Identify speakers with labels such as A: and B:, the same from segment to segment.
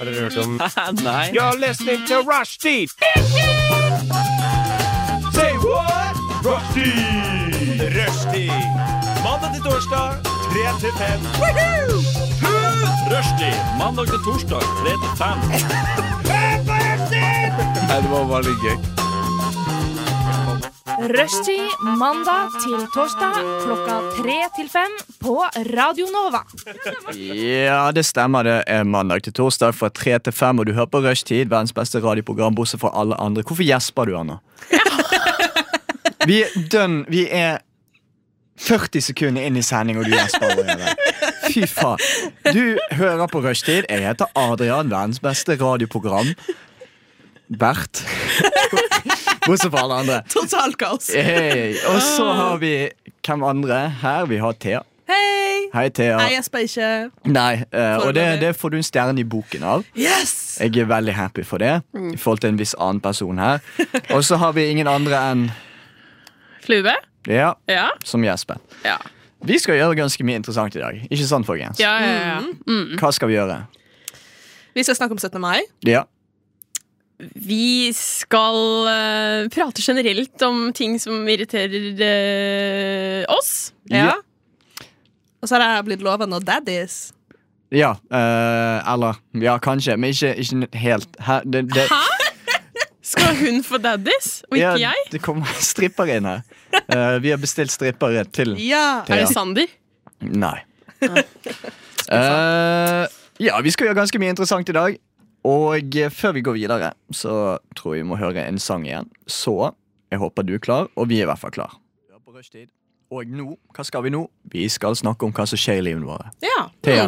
A: Har dere hørt om
B: Nei.
C: You're listening to Rushdie! Say what? Rushdie! Rushdie! Mandag til torsdag, 3 til 5.
B: Rushdie mandag til torsdag 3 til 5.
D: Nei, det var bare litt gøy.
E: Rushtid mandag til torsdag klokka tre til fem på Radio Nova.
D: Ja, det stemmer. Det er mandag til torsdag fra 3 til 5, og du hører på Rushtid, verdens beste radioprogram, bortsett fra alle andre. Hvorfor gjesper du, Anna? Vi er dønn. Vi er 40 sekunder inn i sending, og du gjesper allerede. Fy faen. Du hører på Rushtid. Jeg heter Adrian, verdens beste radioprogram. Bert. Bortsett fra alle andre.
F: Totalt kaos.
D: Hey. Og så har vi hvem andre her? Vi har Thea.
F: Hei!
D: Hei, Thea.
F: Jeg gjesper ikke.
D: Nei, eh, og det,
F: Foreløpig.
D: det får du en stjerne i boken av.
F: Yes!
D: Jeg er veldig happy for det. I forhold til en viss annen person her. Og så har vi ingen andre enn
G: Flue?
D: Ja,
G: Ja.
D: som Jesper.
G: Ja.
D: Vi skal gjøre ganske mye interessant i dag. Ikke sant, folkens?
G: Ja, ja, ja.
D: Hva skal vi gjøre?
F: Mm. Vi skal snakke om 17. mai.
D: Ja.
G: Vi skal eh, prate generelt om ting som irriterer eh, oss.
D: Ja.
F: Og så har jeg blitt lova noen daddies.
D: Ja, eh, eller Ja, kanskje, men ikke, ikke helt Hæ? Det, det,
G: Skal hun få daddies, og ikke
D: ja,
G: jeg?
D: Det kommer stripper inn her. Eh, vi har bestilt strippere til
F: Ja!
D: Thea.
G: Er det Sander?
D: Nei. Eh, ja, vi skal gjøre ganske mye interessant i dag. Og eh, før vi går videre, så tror jeg vi må høre en sang igjen. Så jeg håper du er klar, og vi er i hvert fall klar. Vi er på rushtid. Og nå, hva skal vi nå? Vi skal snakke om hva som skjer i livene våre.
F: Ja. Mm.
D: Thea,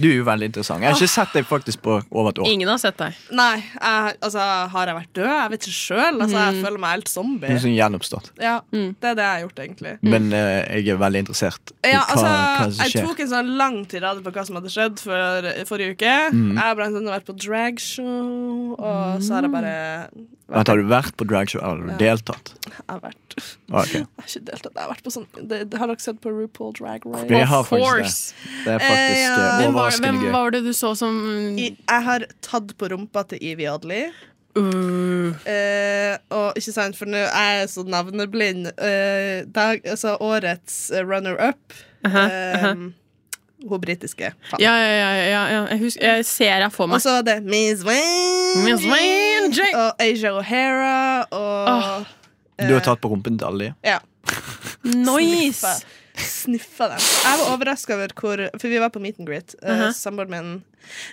D: du er jo veldig interessant. Jeg har ikke sett deg faktisk på over et år.
G: Ingen har sett deg.
F: Nei, jeg, altså, har jeg vært død? Jeg vet ikke sjøl. Altså, jeg
G: Mm.
F: føler meg helt zombie.
D: Hun som gjenoppstått.
F: Ja, Det er det jeg har gjort, egentlig.
D: Men eh, jeg er veldig interessert i
F: Ja,
D: hva,
F: altså,
D: hva som
F: jeg
D: skjer.
F: tok en sånn lang tirade på hva som hadde skjedd for, forrige uke.
D: Mm.
F: Jeg blant annet har vært på dragshow, og så har
D: Mm.
F: jeg bare
D: Vent, har du vært på dragshow? Eller har du deltatt? Ah,
F: Jeg har vært
D: Ok.
F: Jeg har ikke deltatt. Jeg har vært på sånn det, det, Har dere sett på RuPaul Drag Race?
D: Jeg har
G: Of
D: faktisk
G: course.
D: det. Det er
F: Eh,
D: faktisk eh,
F: ja.
G: Hvem var, hvem
D: overraskende gøy.
G: var det du så som
F: I, jeg har tatt på rumpa til Evie Oddly.
G: uh,
F: Eh, og ikke sant, for nå er jeg så navneblind. Eh, dag, altså årets eh, runner-up eh, Hun britiske. faen.
G: Uh-huh. ja, ja, ja, ja, ja. Jeg, husker, jeg ser deg for
F: Og
G: meg.
F: så var det Miss Wayne,
G: Miss Wayne J- Ah.
F: og Asia O'Hara og
G: Åh.
D: Du
F: eh.
D: har tatt på rumpen til alle de?
F: ja,
G: Nice!
F: sniffa dem. Jeg var overraska over hvor For vi var på meet and greet. eh,
G: Mhm.
F: Samboeren min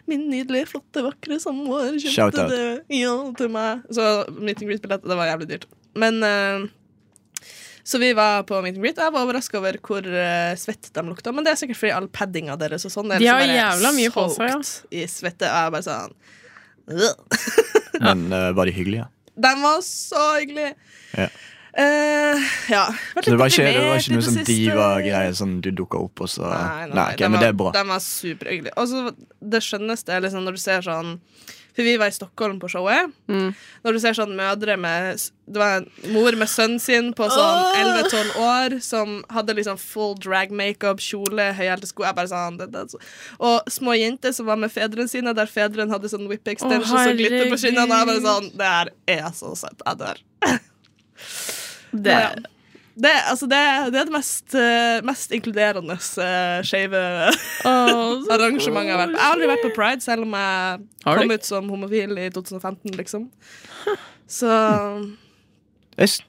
F: Min nydelige, flotte, vakre samboer
D: Shout
F: kjøpte
D: out.
F: det ja, til meg. Så meet and greet-billett, det var jævlig dyrt. Men eh, Så vi var på meet and greet. Jeg var overraska over hvor eh, svett de lukta. Men det er sikkert fordi all paddinga deres og sånn.
G: De
F: ellers
G: har
F: er jeg
G: jævla mye på seg, ja.
F: soaked I svette. Og jeg bare sånn «Ugh».
D: Men eh, var de hyggelige?
F: De var så hyggelige.
D: Ja.
F: Eh, ja.
D: Så
F: Vært
D: det
F: litt
D: var ikke, det var
F: deprimert
D: ikke
F: i
D: noe sånn
F: det siste.
D: diva-greie som du dukka opp, og så
F: Nei, nei,
D: Nei, ok,
F: de
D: men
F: var,
D: det er bra.
F: De var superhyggelige. Og så det skjønneste er liksom når du ser sånn For vi var i Stockholm på showet. Når du ser sånn mødre med s- Det var en mor med sønnen sin på sånn 11-12 år som hadde liksom full drag makeup, kjole, høyhælte sko Jeg bare sånn det, det, er så. Og små jenter som var med fedrene sine, der fedren hadde sånn whip extensions og glitter på skinnene. Og jeg bare sånn Det her er så søtt. Jeg dør.
G: Det,
F: Ja. Det, altså det, det er det mest, eh, mest inkluderende uh, skeive
G: Åh, så
F: arrangementet jeg har vært på. Jeg har aldri vært på pride, selv om jeg
G: Har du
F: kom
G: ikke?
F: ut som homofil i 2015, liksom. Så
D: Jeg, s-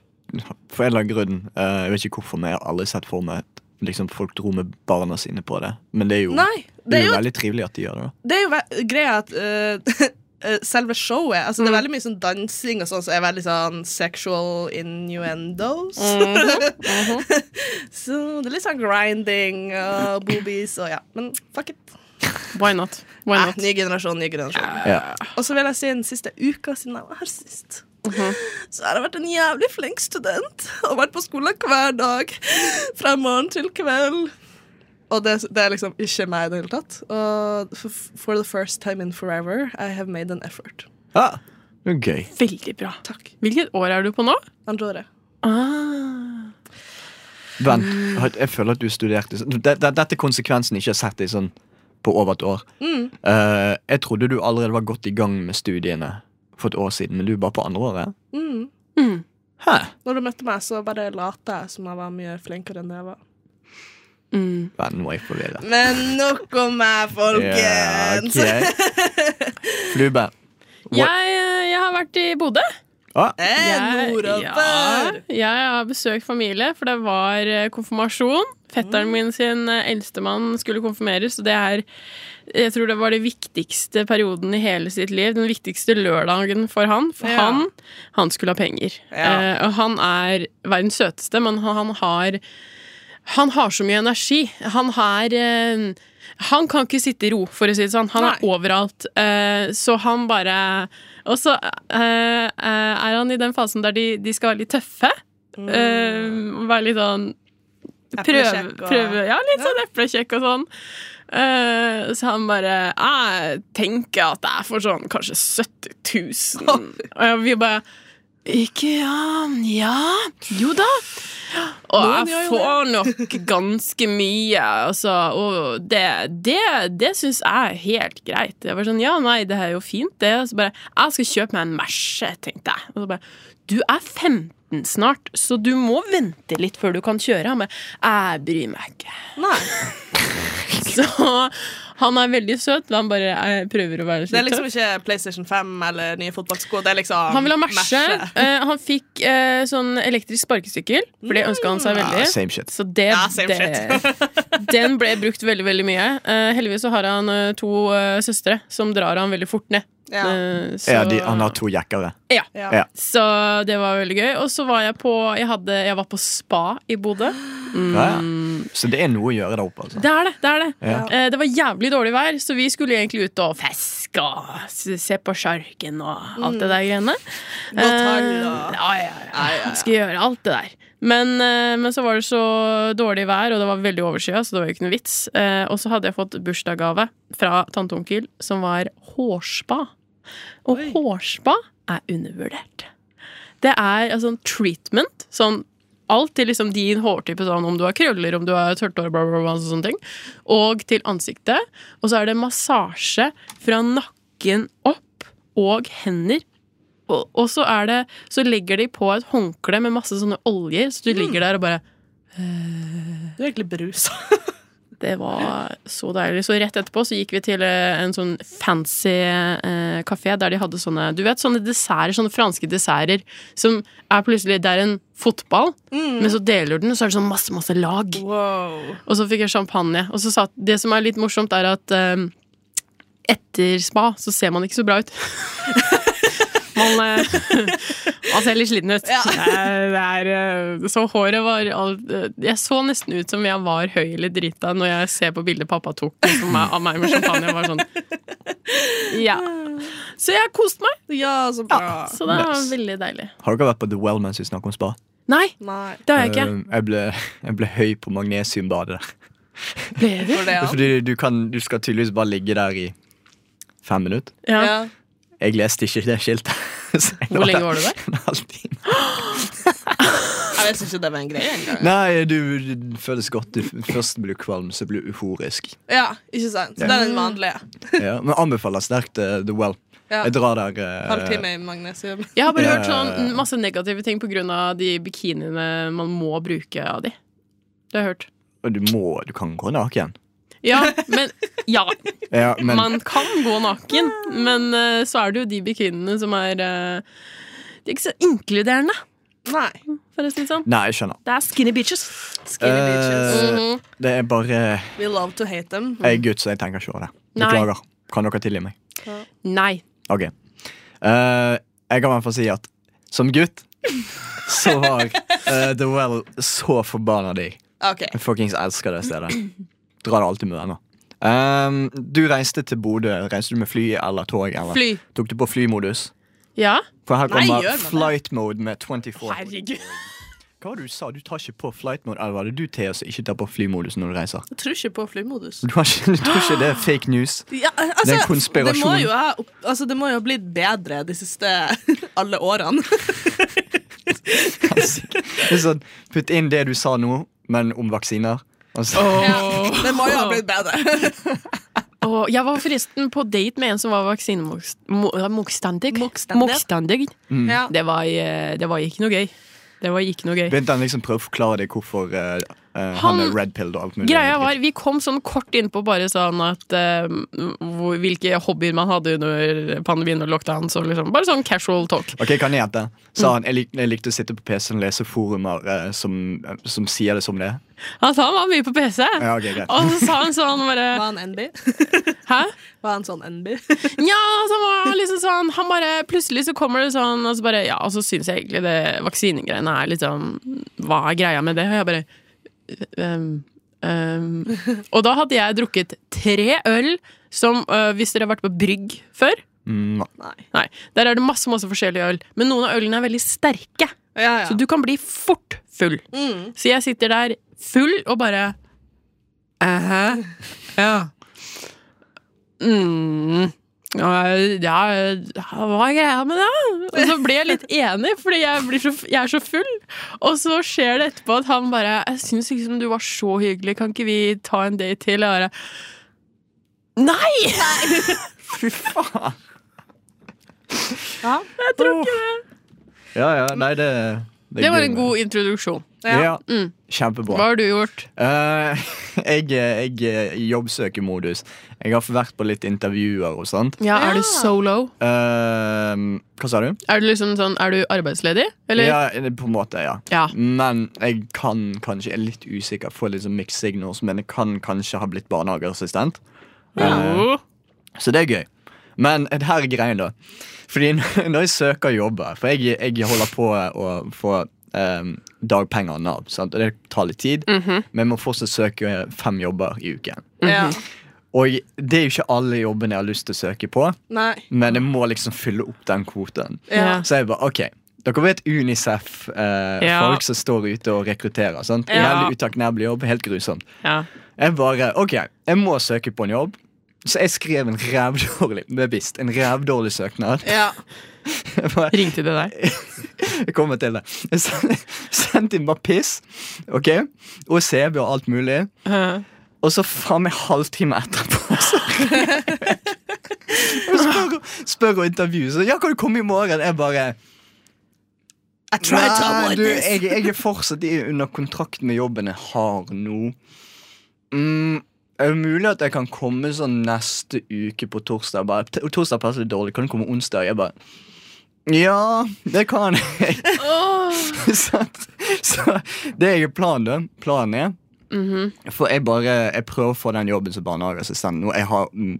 D: for en eller annen grunn, eh, jeg vet ikke hvorfor, men jeg har aldri sett for meg at liksom, folk dro med barna sine på det. Men det er jo,
F: Nei!
D: det er jo
F: jo,
D: veldig trivelig at de gjør det. da.
F: det er jo ve- greia at eh, eh, Selve showet altså
G: Mm.
F: Det er veldig mye sånn dansing og sånn, så er veldig sånn sexual innuendos.
G: Mm-hmm.
F: så det er litt sånn grinding og boobies og ja. Men fuck it.
G: Why not? Why
F: Nei,
G: not?
F: ny generasjon, ny generasjon.
D: Ja.
F: Og så vil jeg si den siste uka siden jeg var her sist. Så har jeg vært en jævlig flink student og vært på skolen hver dag. Fra morgen til kveld. Og det, det er liksom ikke meg i det hele tatt. Og f- for the first time in forever, I have made an effort.
D: Ah, det er gøy.
G: Veldig bra.
F: Takk.
G: Hvilket år er du på nå?
F: Andore.
G: Ah.
D: Vent, har- jeg føler at du studerte så- det- det- Dette er konsekvensen ikke har sett i sånn på over et år. Eh, jeg trodde du allerede var godt i gang med studiene for et år siden, men du er bare på andre året.
F: Mm.
G: Mm.
D: Hæ?
F: Når du møtte meg, så bare lata jeg som jeg var mye flinkere enn jeg var.
G: Mm.
D: Vel, nå er jeg forvirret.
F: Men nok om meg,
D: Ja,
F: folkens!
D: ok. Flube.
G: Jeg, eh, jeg har vært i Bodø.
D: Ah,
F: En nordover!
G: ja, jeg har besøkt familie, for det var eh, konfirmasjon. Fetteren
F: Mm.
G: min sin eh, eldstemann skulle konfirmeres, og det er Jeg tror det var det viktigste perioden i hele sitt liv. Den viktigste lørdagen for han. For
F: Ja.
G: han, han skulle ha penger.
F: Ja.
G: Eh, og han er verdens søteste, men han, han har Han har så mye energi. Han er eh, han kan ikke sitte i ro, for å si det sånn. Han er
F: Nei.
G: overalt. Eh, så han bare Og så eh, eh, er han i den fasen der de, de skal være litt tøffe.
F: Mm.
G: Eh, være litt sånn prøve,
F: Eplekjekk og-
G: prøve Ja, litt sånn eplekjekk og sånn. Eh, så han bare Jeg tenker at det er for sånn kanskje 70 000. og jeg- vi bare Ikke ja Ja, jo da. Og jeg får nok ganske mye. Altså, og det, det, det syns jeg er helt greit. Jeg var sånn, ja, nei, det her er jo fint, det. Og så bare, jeg skal kjøpe meg en Merce, tenkte jeg. Og så bare, du er 15 snart, så du må vente litt før du kan kjøre. Han bare, jeg bryr meg ikke.
F: Nei,
G: Så han er veldig søt, men han bare jeg prøver å være
F: det
G: litt
F: er liksom
G: tøff.
F: ikke PlayStation 5 eller nye fotballsko. Det er liksom
G: Han vil ha Merce. Eh, han fikk eh, sånn elektrisk sparkesykkel, for det ønska han seg veldig.
D: ah, same shit.
G: Så det,
F: Mm. Ja, same
G: det Den ble brukt veldig, veldig mye. Eh, heldigvis så har han eh, to eh, søstre som drar han veldig fort ned.
F: Ja.
G: Eh, så,
D: Ja, de, han har to jekkere.
G: Ja.
F: Ja.
D: Ja.
G: Så det var veldig gøy. Og så var jeg på Jeg, hadde, jeg var på spa i Bodø.
D: Ja, ja. Så det er noe å gjøre der oppe, altså.
G: Det er det! det, er det.
D: Ja.
G: Eh, det var jævlig dårlig vær, så vi skulle egentlig ut og fiske og s- se på sjarken og
F: Mm.
G: alt det der greiene.
F: Gå tall,
G: Eh,
F: da.
G: ja, ja, ja. Jeg Skal gjøre alt det der. Men, eh, men så var det så dårlig vær, og det var veldig overskya, så det var jo ikke noe vits. Eh, Og så hadde jeg fått bursdagsgave fra tante og onkel, som var hårspa. Og hårspa er undervurdert. Det er altså en treatment. Sånn alt til liksom din hårtype, sånn om du har krøller, om du har tørt hår, bla, bla, bla, og sånne ting. Og til ansiktet. Og så er det massasje fra nakken opp og hender. Og, og så er det Så legger de på et håndkle med masse sånne oljer, så du ligger der og bare
F: Du er egentlig berusa.
G: det var så deilig. Så rett etterpå så gikk vi til eh, en sånn fancy eh, kafé der de hadde sånne du vet, sånne desserter, sånne franske desserter som er plutselig Det er en fotball, men så deler du den, så er det sånn masse, masse lag.
F: Wow.
G: Og så fikk jeg champagne. Og så satt, det som er litt morsomt, er at eh, etter spa så ser man ikke så bra ut. man, eh, man ser litt sliten ut. Eh, Det er, eh, så håret var alt, eh, Jeg så nesten ut som jeg var høy eller drita når jeg ser på bildet pappa tok liksom, av meg med champagne. Jeg var sånn Ja. Så jeg koste meg.
F: Ja, så bra.
G: Så det var
D: Nice.
G: veldig deilig.
D: Har dere vært på The Well mens vi snakker om spa?
G: Nei,
F: Nei.
G: det har jeg ikke.
D: Eh, Jeg ble, jeg ble høy på magnesiumbadet der.
G: Ble du?
F: For det, ja.
D: Fordi du, kan, du skal tydeligvis bare ligge der i fem minutter.
G: Ja.
F: Ja.
D: Jeg leste ikke det skiltet. så jeg
G: Hvor lenge var du der?
D: En halv time.
F: Jeg visste ikke det var en greie engang.
D: Nei, du, det føles godt. Du, først blir du kvalm, så blir du uhorisk.
F: Ja, ikke sant? Så det er den vanlige.
D: Ja, men anbefaler sterkt eh, The Well.
F: Ja.
D: Jeg drar der eh,
F: Halvtime i magnesium.
G: Jeg har bare
D: Ja,
G: hørt
D: ja, ja.
G: sånn masse negative ting pga. de bikiniene man må bruke av de. Det har jeg hørt.
D: Og du må, du kan gå naken.
G: Ja, men Ja,
D: Ja, men
G: man kan gå naken, men eh, så er det jo de bikiniene som er eh, De er ikke så inkluderende,
F: Nei.
G: for å si det sånn.
D: Nei, jeg skjønner.
G: Det er skinny bitches.
F: Skinny bitches.
D: Eh,
G: Mhm.
D: Det er bare
F: We love to hate them.
D: Jeg er gutt, så jeg tenker ikke over det.
G: Nei.
D: Beklager. Kan dere tilgi meg?
G: Nei.
D: Ok. Eh, jeg kan i hvert fall si at som gutt så var eh, The Well så forbanna digg.
F: OK.
D: Jeg fuckings elsker det stedet. Drar det alltid med venner. Ehm, du reiste til Bodø. Reiste du med fly eller tog? Eller?
G: Fly.
D: Tok du på flymodus?
G: Ja.
D: For her
F: Nei,
D: kommer
F: gjør man det?
D: flight mode med 24.
G: Herregud.
D: Hva var det du sa? Du tar ikke på flight mode? Eller var det du, Thea, som ikke tar på flymodus når du reiser?
F: Jeg tror ikke på flymodus.
D: Du, har ikke, du tror ikke det er fake news?
F: Ja, altså,
D: Det er en konspirasjon.
F: Det må, jo ha, opp- altså, det må jo ha blitt bedre de siste alle årene.
D: Det er sånn, putt inn det du sa nå, men om vaksiner. Altså,
F: Det må jo ha blitt bedre.
G: Og jeg var forresten på date med en som var vaksinemotstander.
F: Motstander. Ja.
G: Det, var, eh, det var ikke noe gøy. Det var ikke noe gøy.
D: Begynte han liksom prøve å forklare deg hvorfor eh, eh,
G: Han-
D: han, er red-pilled og alt mulig?
G: Greia var, Vi kom sånn kort innpå bare sånn at eh, hvor, hvilke hobbyer man hadde under pandemien og lockdowns. Og liksom, bare sånn casual talk.
D: Ok, kan jeg gjette? Sa
G: Mm.
D: han, jeg, lik, jeg likte å sitte på PC-en og lese forumer eh, som, som sier det som det er.
G: Han sa han var mye på PC.
D: Ja, ok, greit.
G: Og så sa han sånn bare
F: Var han NB?
G: Hæ?
F: Var han sånn NB?
G: Ja, så han var liksom sånn Han bare Plutselig så kommer det sånn, og så bare Ja, og så syns jeg egentlig det vaksinegreiene er litt sånn Hva er greia med det? Og jeg bare ehm, ehm. Og da hadde jeg drukket tre øl som øh, Hvis dere har vært på brygg før
D: Mm,
G: Nei. Der er det masse masse forskjellige øl. Men noen av ølene er veldig sterke,
F: Ja, ja.
G: så du kan bli fort full.
F: Mm.
G: Så jeg sitter der full og bare Æhæ? Ja. Mm. Ja, ja, hva er greia med det? Og så ble jeg litt enig, fordi jeg, blir så, jeg er så full. Og så skjer det etterpå at han bare 'Jeg syns liksom du var så hyggelig, kan ikke vi ta en date til?' Og jeg bare Nei!
D: Fy faen!
F: Ja.
D: Jeg tror ikke det. Ja, ja, nei, det, det er
G: Det var
D: gøy
G: en
D: med-
G: god introduksjon.
D: Ja,
G: Mm.
D: Kjempebra.
G: Hva har du gjort?
D: Eh, jeg jeg er i jobbsøkemodus. Jeg har vært på litt intervjuer og sånt.
G: Ja, Er du solo?
D: Eh, hva sa du?
G: Er du liksom sånn, er du arbeidsledig? Eller?
D: Ja, eh, på en måte, ja.
G: Ja.
D: Men jeg kan kanskje, jeg er litt usikker, får litt sånn mixed signals, men jeg kan kanskje ha blitt barnehageassistent.
G: Jo.
D: Så det er gøy. Men det her er greia, da. Fordi n- når jeg søker jobber For jeg, jeg holder på eh, å få um, dagpenger av Nav, sant? og det tar litt tid.
G: Mhm.
D: Men man fortsatt søker fem jobber i uken.
F: ja.
D: Og det er jo ikke alle jobbene jeg har lyst til å søke på,
F: Nei.
D: men jeg må liksom fylle opp den kvoten.
G: Ja.
D: Så jeg bare, ok dere vet Unicef, eh,
G: Ja.
D: folk som står ute og rekrutterer. sant?
G: Ja.
D: Veldig utakknemlig jobb. Helt grusomt.
G: Ja.
D: Jeg bare OK, jeg må søke på en jobb. Så jeg skrev en rævdårlig bevisst, en rævdårlig søknad.
F: Ja.
D: Jeg bare-
G: Ringte det deg?
D: Jeg kommer til det. Jeg sen- sendte inn bare piss ok? og CB og alt mulig. Og så faen meg halvtime etterpå så ringer jeg. Og spør, spør og intervjuer. Så ja, kan du komme i morgen? Jeg bare
F: I tried to
D: Nei,
F: avoid
D: du,
F: this.
D: jeg, jeg er fortsatt i- under kontrakt med jobben jeg har nå. Mm, er det mulig at jeg kan komme sånn neste uke på torsdag? Bare, "T- torsdag passer litt dårlig, kan du komme onsdag? Jeg bare Ja, det kan jeg. Sant? så det er jo planen, da. Planen er For jeg bare Jeg prøver å få den jobben som barnehageassistent nå. Jeg har mm,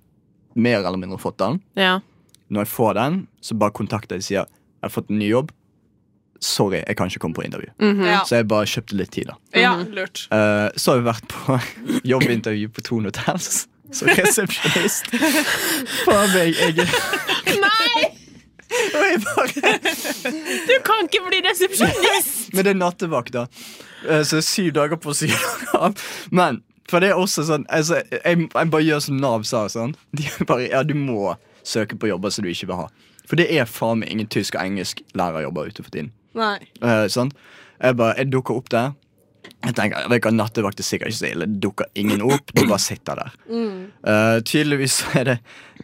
D: mer eller mindre fått den
G: Ja.
D: når jeg får den, så bare kontakter jeg og sier jeg har fått en ny jobb. Sorry, jeg kan ikke komme på intervju.
F: Ja.
D: Så jeg bare kjøpte litt tid. da
F: ja, lurt.
D: Eh, Så har vi vært på jobbintervju på Tone Hotels som resepsjonist. Faen meg, jeg Og jeg bare,
G: Du kan ikke bli resepsjonist!
D: men det er nattevakt, da. Eh, Så det er syv dager på å si av. Men for det er også sånn altså, jeg, jeg bare gjør som Nav sa. Sånn. De er bare, ja, du må søke på jobber som du ikke vil ha. For det er faen meg ingen tysk- og engelsklærerjobber ute for tiden.
F: Nei.
D: Eh, sant? Jeg bare, jeg dukker opp der. Jeg tenker, jeg vet ikke, Nattevakt er sikkert ikke så ille. Det dukker ingen opp. Du bare sitter der. Eh, tydeligvis så er det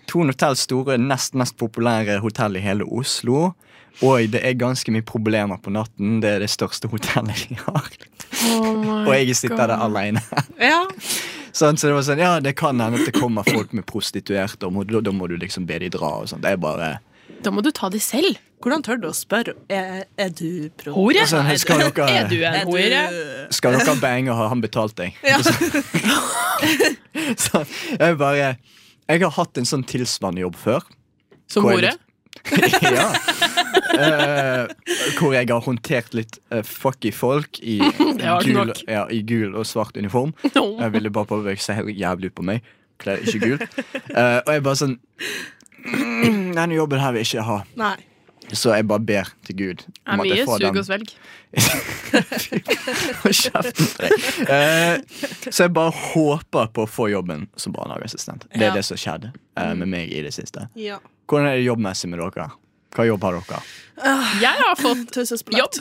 D: Thon Hotell store, nest mest populære hotell i hele Oslo. Og det er ganske mye problemer på natten. Det er det største hotellet de har.
G: Oh
D: Og jeg sitter der alene.
F: Ja.
D: Sånn, så det var sånn, ja, det kan hende at det kommer folk med prostituerte, og må, da, da må du liksom be de dra. og sånt. Det er bare...
G: Da må du ta det selv.
F: Hvordan tør du å spørre? Er, er du pro?
G: Hore?
D: Sånn, hei, skal dere-
G: Er du en hore?
D: Skal dere bange, har han betalt deg? så jeg bare Jeg har hatt en sånn tilsvarende jobb før.
G: Som
D: Hvor er
G: hore?
D: det? ja. Eh, hvor jeg har håndtert litt eh, fucky folk i
G: var ikke
D: gul,
G: nok.
D: ja, i gul og svart uniform.
G: No.
D: Jeg ville bare påpeke seg helt jævlig ut på meg. Kler ikke gul. Eh, og jeg bare sånn «Mm, Denne jobben her vil jeg ikke ha.
F: Nei.
D: Så jeg bare ber til Gud
G: Er
D: om at
G: mye
D: jeg får
G: sug
D: den.
G: og svelg.
D: Hold kjeften på deg. Eh, så jeg bare håper på å få jobben som barnehageassistent. Det er
F: Ja.
D: det som skjedde eh, med meg i det siste.
F: Ja.
D: Hvordan er det jobbmessig med dere? Hva jobb har dere?
G: Jeg har fått jobb.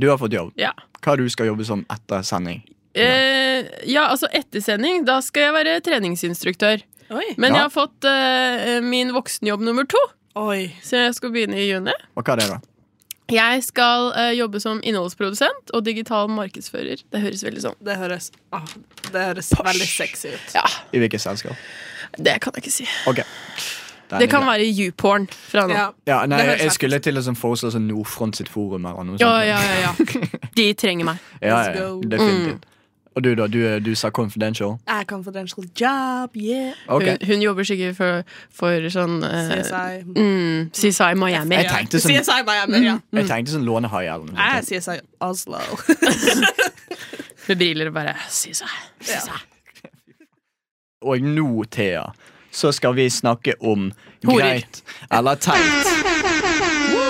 D: Du har fått jobb.
G: Ja.
D: Hva du skal jobbe som etter sending?
G: Eh, ja, altså ettersending. Da skal jeg være treningsinstruktør.
A: Oi.
G: Men
D: Ja.
G: jeg har fått eh, min voksenjobb nummer to,
A: Oi.
G: så jeg skal begynne i juni.
D: Og hva er det, da?
G: Jeg skal eh, jobbe som innholdsprodusent og digital markedsfører. Det høres veldig sånn
F: Det høres, ah, det høres veldig sexy ut.
G: Ja,
D: I hvilket selskap?
G: det kan jeg ikke si.
D: Ok. Den
G: Det
D: er
G: kan
D: grei.
G: være YouPorn fra nå.
F: Ja.
D: ja, nei,
F: det høres
D: Jeg
F: fett.
D: skulle til å sånn foreslå sånn Nordfront sitt forum. Her, og noe
G: Ja,
D: sånt.
G: ja, ja, ja. De trenger meg.
D: ja,
F: Let's
D: ja.
F: go.
D: Definitivt. Og du, da? Du, er- du sa confidential?
F: I confidential job, yeah.
D: Ok.
G: Hun, hun jobber sikkert for, for sånn eh,
F: CSI.
G: mm, CSI Miami.
D: Jeg tenkte sånn,
F: CSI Miami, ja.
D: jeg tenkte sånn lånehai eller noe.
F: Jeg er
D: sånt.
F: CSI Oslo.
G: Med briller og bare CSI. CSI.
D: Og nå, Thea, så skal vi snakke om
G: Horer.
D: greit eller teit. Woo,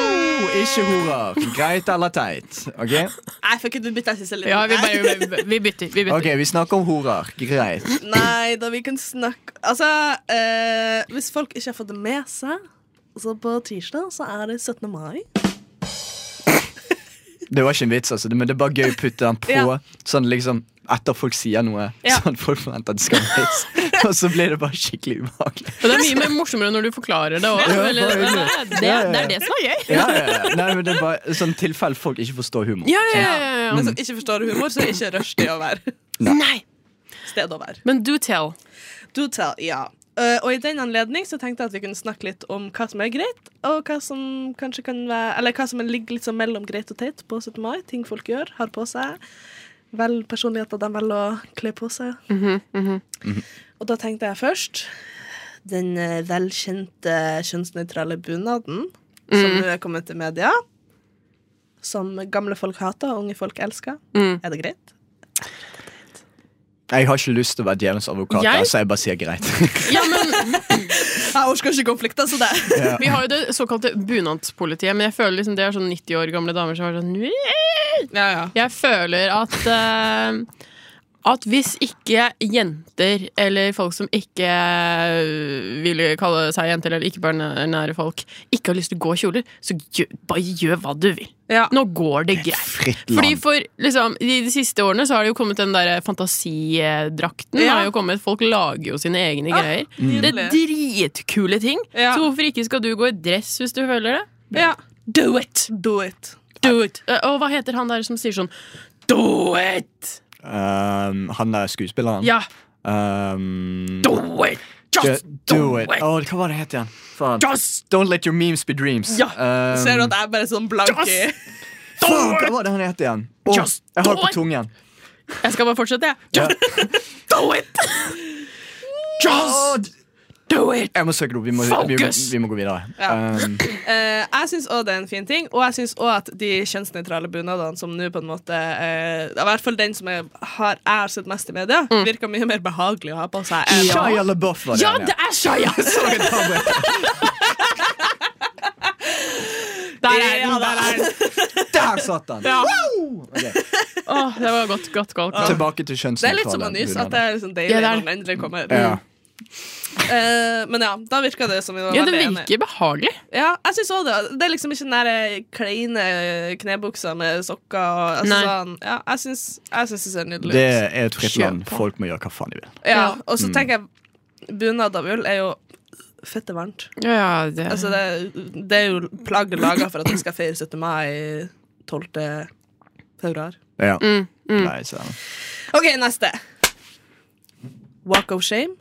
D: ikke horer. Greit eller teit. Ok,
F: Nei, fuck it, vi bytter siste litt.
G: Ja, vi, bare, vi, vi bytter. Vi bytter.
D: Ok, vi snakker om horer. Greit.
F: Nei, da vi kan snakke Altså, eh, hvis folk ikke har fått det med seg så på tirsdag så er det 17. mai.
D: Det var ikke en vits, altså, men det er bare gøy å putte den på
F: Ja.
D: sånn liksom etter folk sier noe.
F: Ja.
D: Sånn folk forventer at det skal være vits. Og så blir det bare skikkelig ubehagelig.
G: Og det er mye mer morsommere når du forklarer det òg.
D: Ja,
G: det,
D: bare-
G: det, det er det som er gøy.
D: Ja, ja, ja. Nei, men det er bare sånn tilfelle folk ikke forstår humor.
G: Ja, ja, ja, ja,
F: Men som ikke forstår humor, så er ikke rushtid å være
G: ja. Nei,
F: sted å være.
G: men do tell.
F: Do tell, ja. Eh, og i den anledning så tenkte jeg at vi kunne snakke litt om hva som er greit, og hva som kanskje kan være Eller hva som ligger litt sånn mellom greit og teit på 17. mai. Ting folk gjør, har på seg. Vel personligheter de velger å kle på seg. mhm. Og da tenkte jeg først den eh, velkjente kjønnsnøytrale bunaden som nå er kommet til media. Som gamle folk hater og unge folk elsker.
G: Mm.
F: Er det greit?
D: Jeg har ikke lyst til å være djevelens advokat,
G: Jeg-
D: der, så jeg bare sier greit.
G: Ja, men
F: Jeg orker ikke konflikter, så det
D: ja.
G: Vi har jo det såkalte bunadspolitiet, men jeg føler liksom det er sånn 90 år gamle damer som er sånn «Nye».
F: Ja, ja.
G: Jeg føler at eh, at hvis ikke jenter, eller folk som ikke eh, vil kalle seg jenter, eller ikke bare nære folk, ikke har lyst til å gå i kjoler, så gjø, bare gjør hva du vil.
F: Ja.
G: Nå går det greit.
D: Fritt land.
G: Fordi for liksom, I de siste årene så har det jo kommet den der fantasidrakten.
F: Ja. Ah,
G: Har jo kommet, folk lager jo sine egne greier. Det er
F: Nydelig.
G: dritkule ting.
F: Ja.
G: Så hvorfor ikke skal du gå i dress hvis du føler det?
F: Ja.
G: Do it!
F: Do it.
G: Do it! Eh, Og hva heter han der som sier sånn Do it!
D: Um, han der skuespilleren.
G: Ja,
D: Um,
G: do it! Just
D: do,
G: do,
D: it. Oh.
G: it!
D: Åh, hva var det het igjen? Faen.
G: Just
D: Don't let your memes be dreams.
G: Ja.
D: Um,
F: Ser du at jeg er bare sånn blank i
G: Just
D: faen, hva var det han het igjen? Åh,
G: Just
D: jeg har det
G: do
D: på
G: it.
D: tungen.
G: Jeg skal bare fortsette, jeg. Just do it!
D: Åh,
G: Just do it!
D: Jeg må søke det opp. Vi må, vi, må-
G: Focus.
D: vi må gå videre.
F: Ja.
D: Um,
F: Eh, jeg syns òg det er en fin ting, og jeg syns òg at de kjønnsnøytrale bunadene som nå på en måte eh, I hvert fall den som jeg har, jeg har sett mest i media,
G: Mm.
F: virker mye mer behagelig å ha på seg. enn-
D: Shia LaBeouf var det.
G: Ja,
D: han het.
G: det er Shia!
D: Så det var det.
G: Der er
F: Ja,
G: den!
F: der
G: Der er den.
D: Der satt han! Ok,
G: Åh, det var godt, godt, godt. godt.
D: Tilbake til
F: Det er
D: kjønnsnøytrale.
F: litt som å nyse, at det
D: bunader.
F: er liksom deilig
G: Ja, det er
F: når den endelig kommer.
D: ja.
F: Eh, men ja, da virker det som vi var
G: Ja, det
F: veldig enige.
G: virker behagelig.
F: Ja, jeg synes også det. Det er liksom ikke den der eh, kleine knebuksa med sokker og altså,
G: Nei.
F: sånn. Ja, jeg syns jeg syns det ser nydelig ut.
D: det Mm. er et fritt
G: Kjør
D: land.
G: på.
D: Folk må gjøre hva faen de vil.
F: Ja, og så tenker jeg bunad av ull er jo fette varmt.
G: Ja, det
F: Altså, det, det er jo plagg laga for at vi skal feire 17. mai 12. februar.
D: Ja.
G: Mm, mm.
D: Nei, så.
F: OK, neste. Walk of shame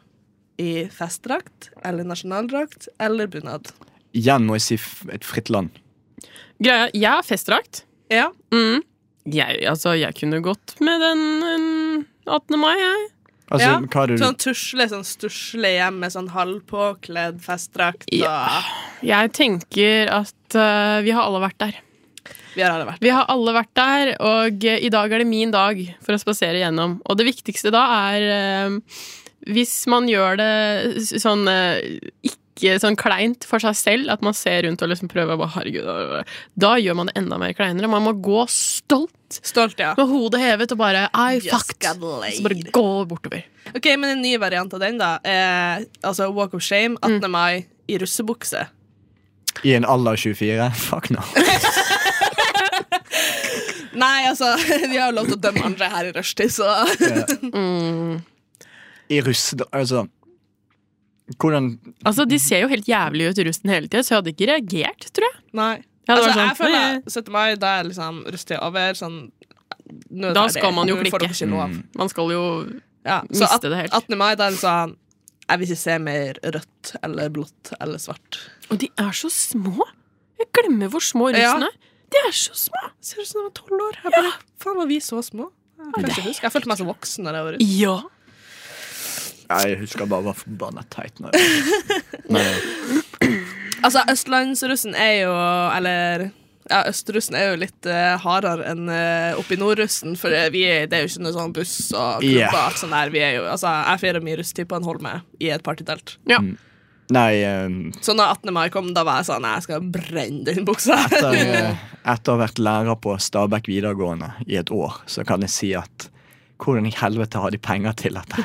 F: i festdrakt eller nasjonaldrakt eller bunad.
D: Igjen må jeg si f et fritt land.
G: Greia, jeg har festdrakt.
F: Ja.
G: Mm. Jeg, altså, jeg kunne gått med den en 18. mai, jeg.
D: Altså,
F: Ja,
D: hva er det du
F: Sånn tusle, sånn stusle hjem med sånn halvpåkledd festdrakt. Og
G: Ja. Jeg tenker at eh, vi har alle vært der.
F: Vi har alle vært
G: Vi har alle vært der, og eh, i dag er det min dag for å spasere gjennom. Og det viktigste da er eh, hvis man gjør det s- sånn eh, ikke sånn kleint for seg selv, at man ser rundt og liksom prøver å bare herregud, øh, øh», Da gjør man det enda mer kleinere. Man må gå stolt
F: Stolt, ja.
G: med hodet hevet og bare I fucked.
F: got laid.
G: Så bare gå bortover.
F: Ok, Men en ny variant av den, da. Er, altså Walk of Shame 18. mai i russebukse.
D: I en alder av 24? Fuck no.
F: Nei, altså, vi har jo lov til å dømme andre her i rushtid, så
D: I russe... Altså Hvordan
G: Altså, De ser jo helt jævlig ut, rusten, hele tida, så jeg hadde ikke reagert, tror jeg.
F: Nei.
G: jeg hadde
F: Altså,
G: vært sånn,
F: jeg føler
G: «Nei,
F: at 17. mai, det er liksom rustig over. Sånn, nå
G: Da
F: er det-
G: skal man
F: nå
G: jo
F: får dere
G: klikke.
F: ikke lov.
G: Man skal jo
F: Ja, så
G: miste
F: at,
G: det helt.
F: 18. mai, det er sånn Jeg vil ikke se mer rødt eller blått eller svart.
G: Og de er så små! Jeg glemmer hvor små russen
F: Ja.
G: er. De er så små!
F: Ser ut som jeg var tolv år. Jeg bare, Faen, var vi så små? Jeg, kan ikke huske. jeg følte meg så voksen da jeg var russ.
G: Ja.
D: Jeg husker bare var forbanna teit. når jeg-
F: Altså, østlandsrussen er jo Eller ja, østrussen er jo litt eh, hardere enn eh, oppe i nordrussen, for eh, vi er, det er jo ikke noe sånn buss og klubber
D: Ja.
F: og alt sånt der. Vi er jo, altså, jeg feirer min russtid på en holme i et partytelt.
G: ja.
D: Nei, ehm,
F: Så når 18. mai kom, da var jeg sånn "Nei, Jeg skal brenne den buksa.
D: etter, eh, etter å ha vært lærer på Stabæk videregående i et år, så kan jeg si at hvordan i helvete har de penger til dette?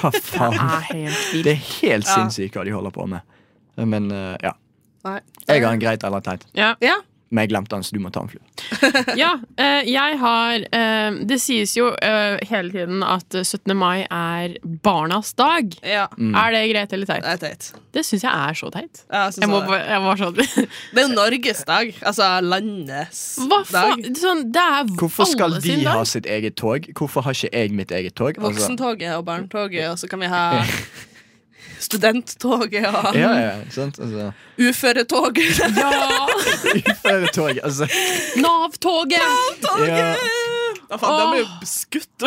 D: Hva faen?
F: Ah,
G: Er helt vilt.
D: Det er helt sinnssykt hva de holder på med. Men eh, ja.
F: Nei.
D: Jeg har en greit eller teit,
G: Ja.
F: Ja.
D: men jeg glemte den, så du må ta en flue.
G: ja eh, jeg har eh, Det sies jo eh, hele tiden at eh, 17. mai er barnas dag.
F: ja.
D: Mm.
G: Er det greit eller teit?
F: Det er teit.
G: Det syns jeg er så teit.
F: Ja, jeg synes
G: Jeg, må,
F: det.
G: bare- jeg var sånn
F: Det er jo Norges dag. Altså landets
G: Hva
F: dag.
G: faen? Sånn, det er
D: Hvorfor skal
G: alle sin
D: de ha
G: dag.
D: sitt eget tog? Hvorfor har ikke jeg mitt eget tog? Altså-
F: Voksentoget og barnetoget, og så kan vi ha studenttoget
D: ja,
F: og
D: ja, ikke sant? Altså,
F: uføretoget.
G: Ja!
D: Uføretog, altså.
G: Nav-toget!
D: Ja,
F: Da faen, da blir jo
G: Åh.
F: beskutt.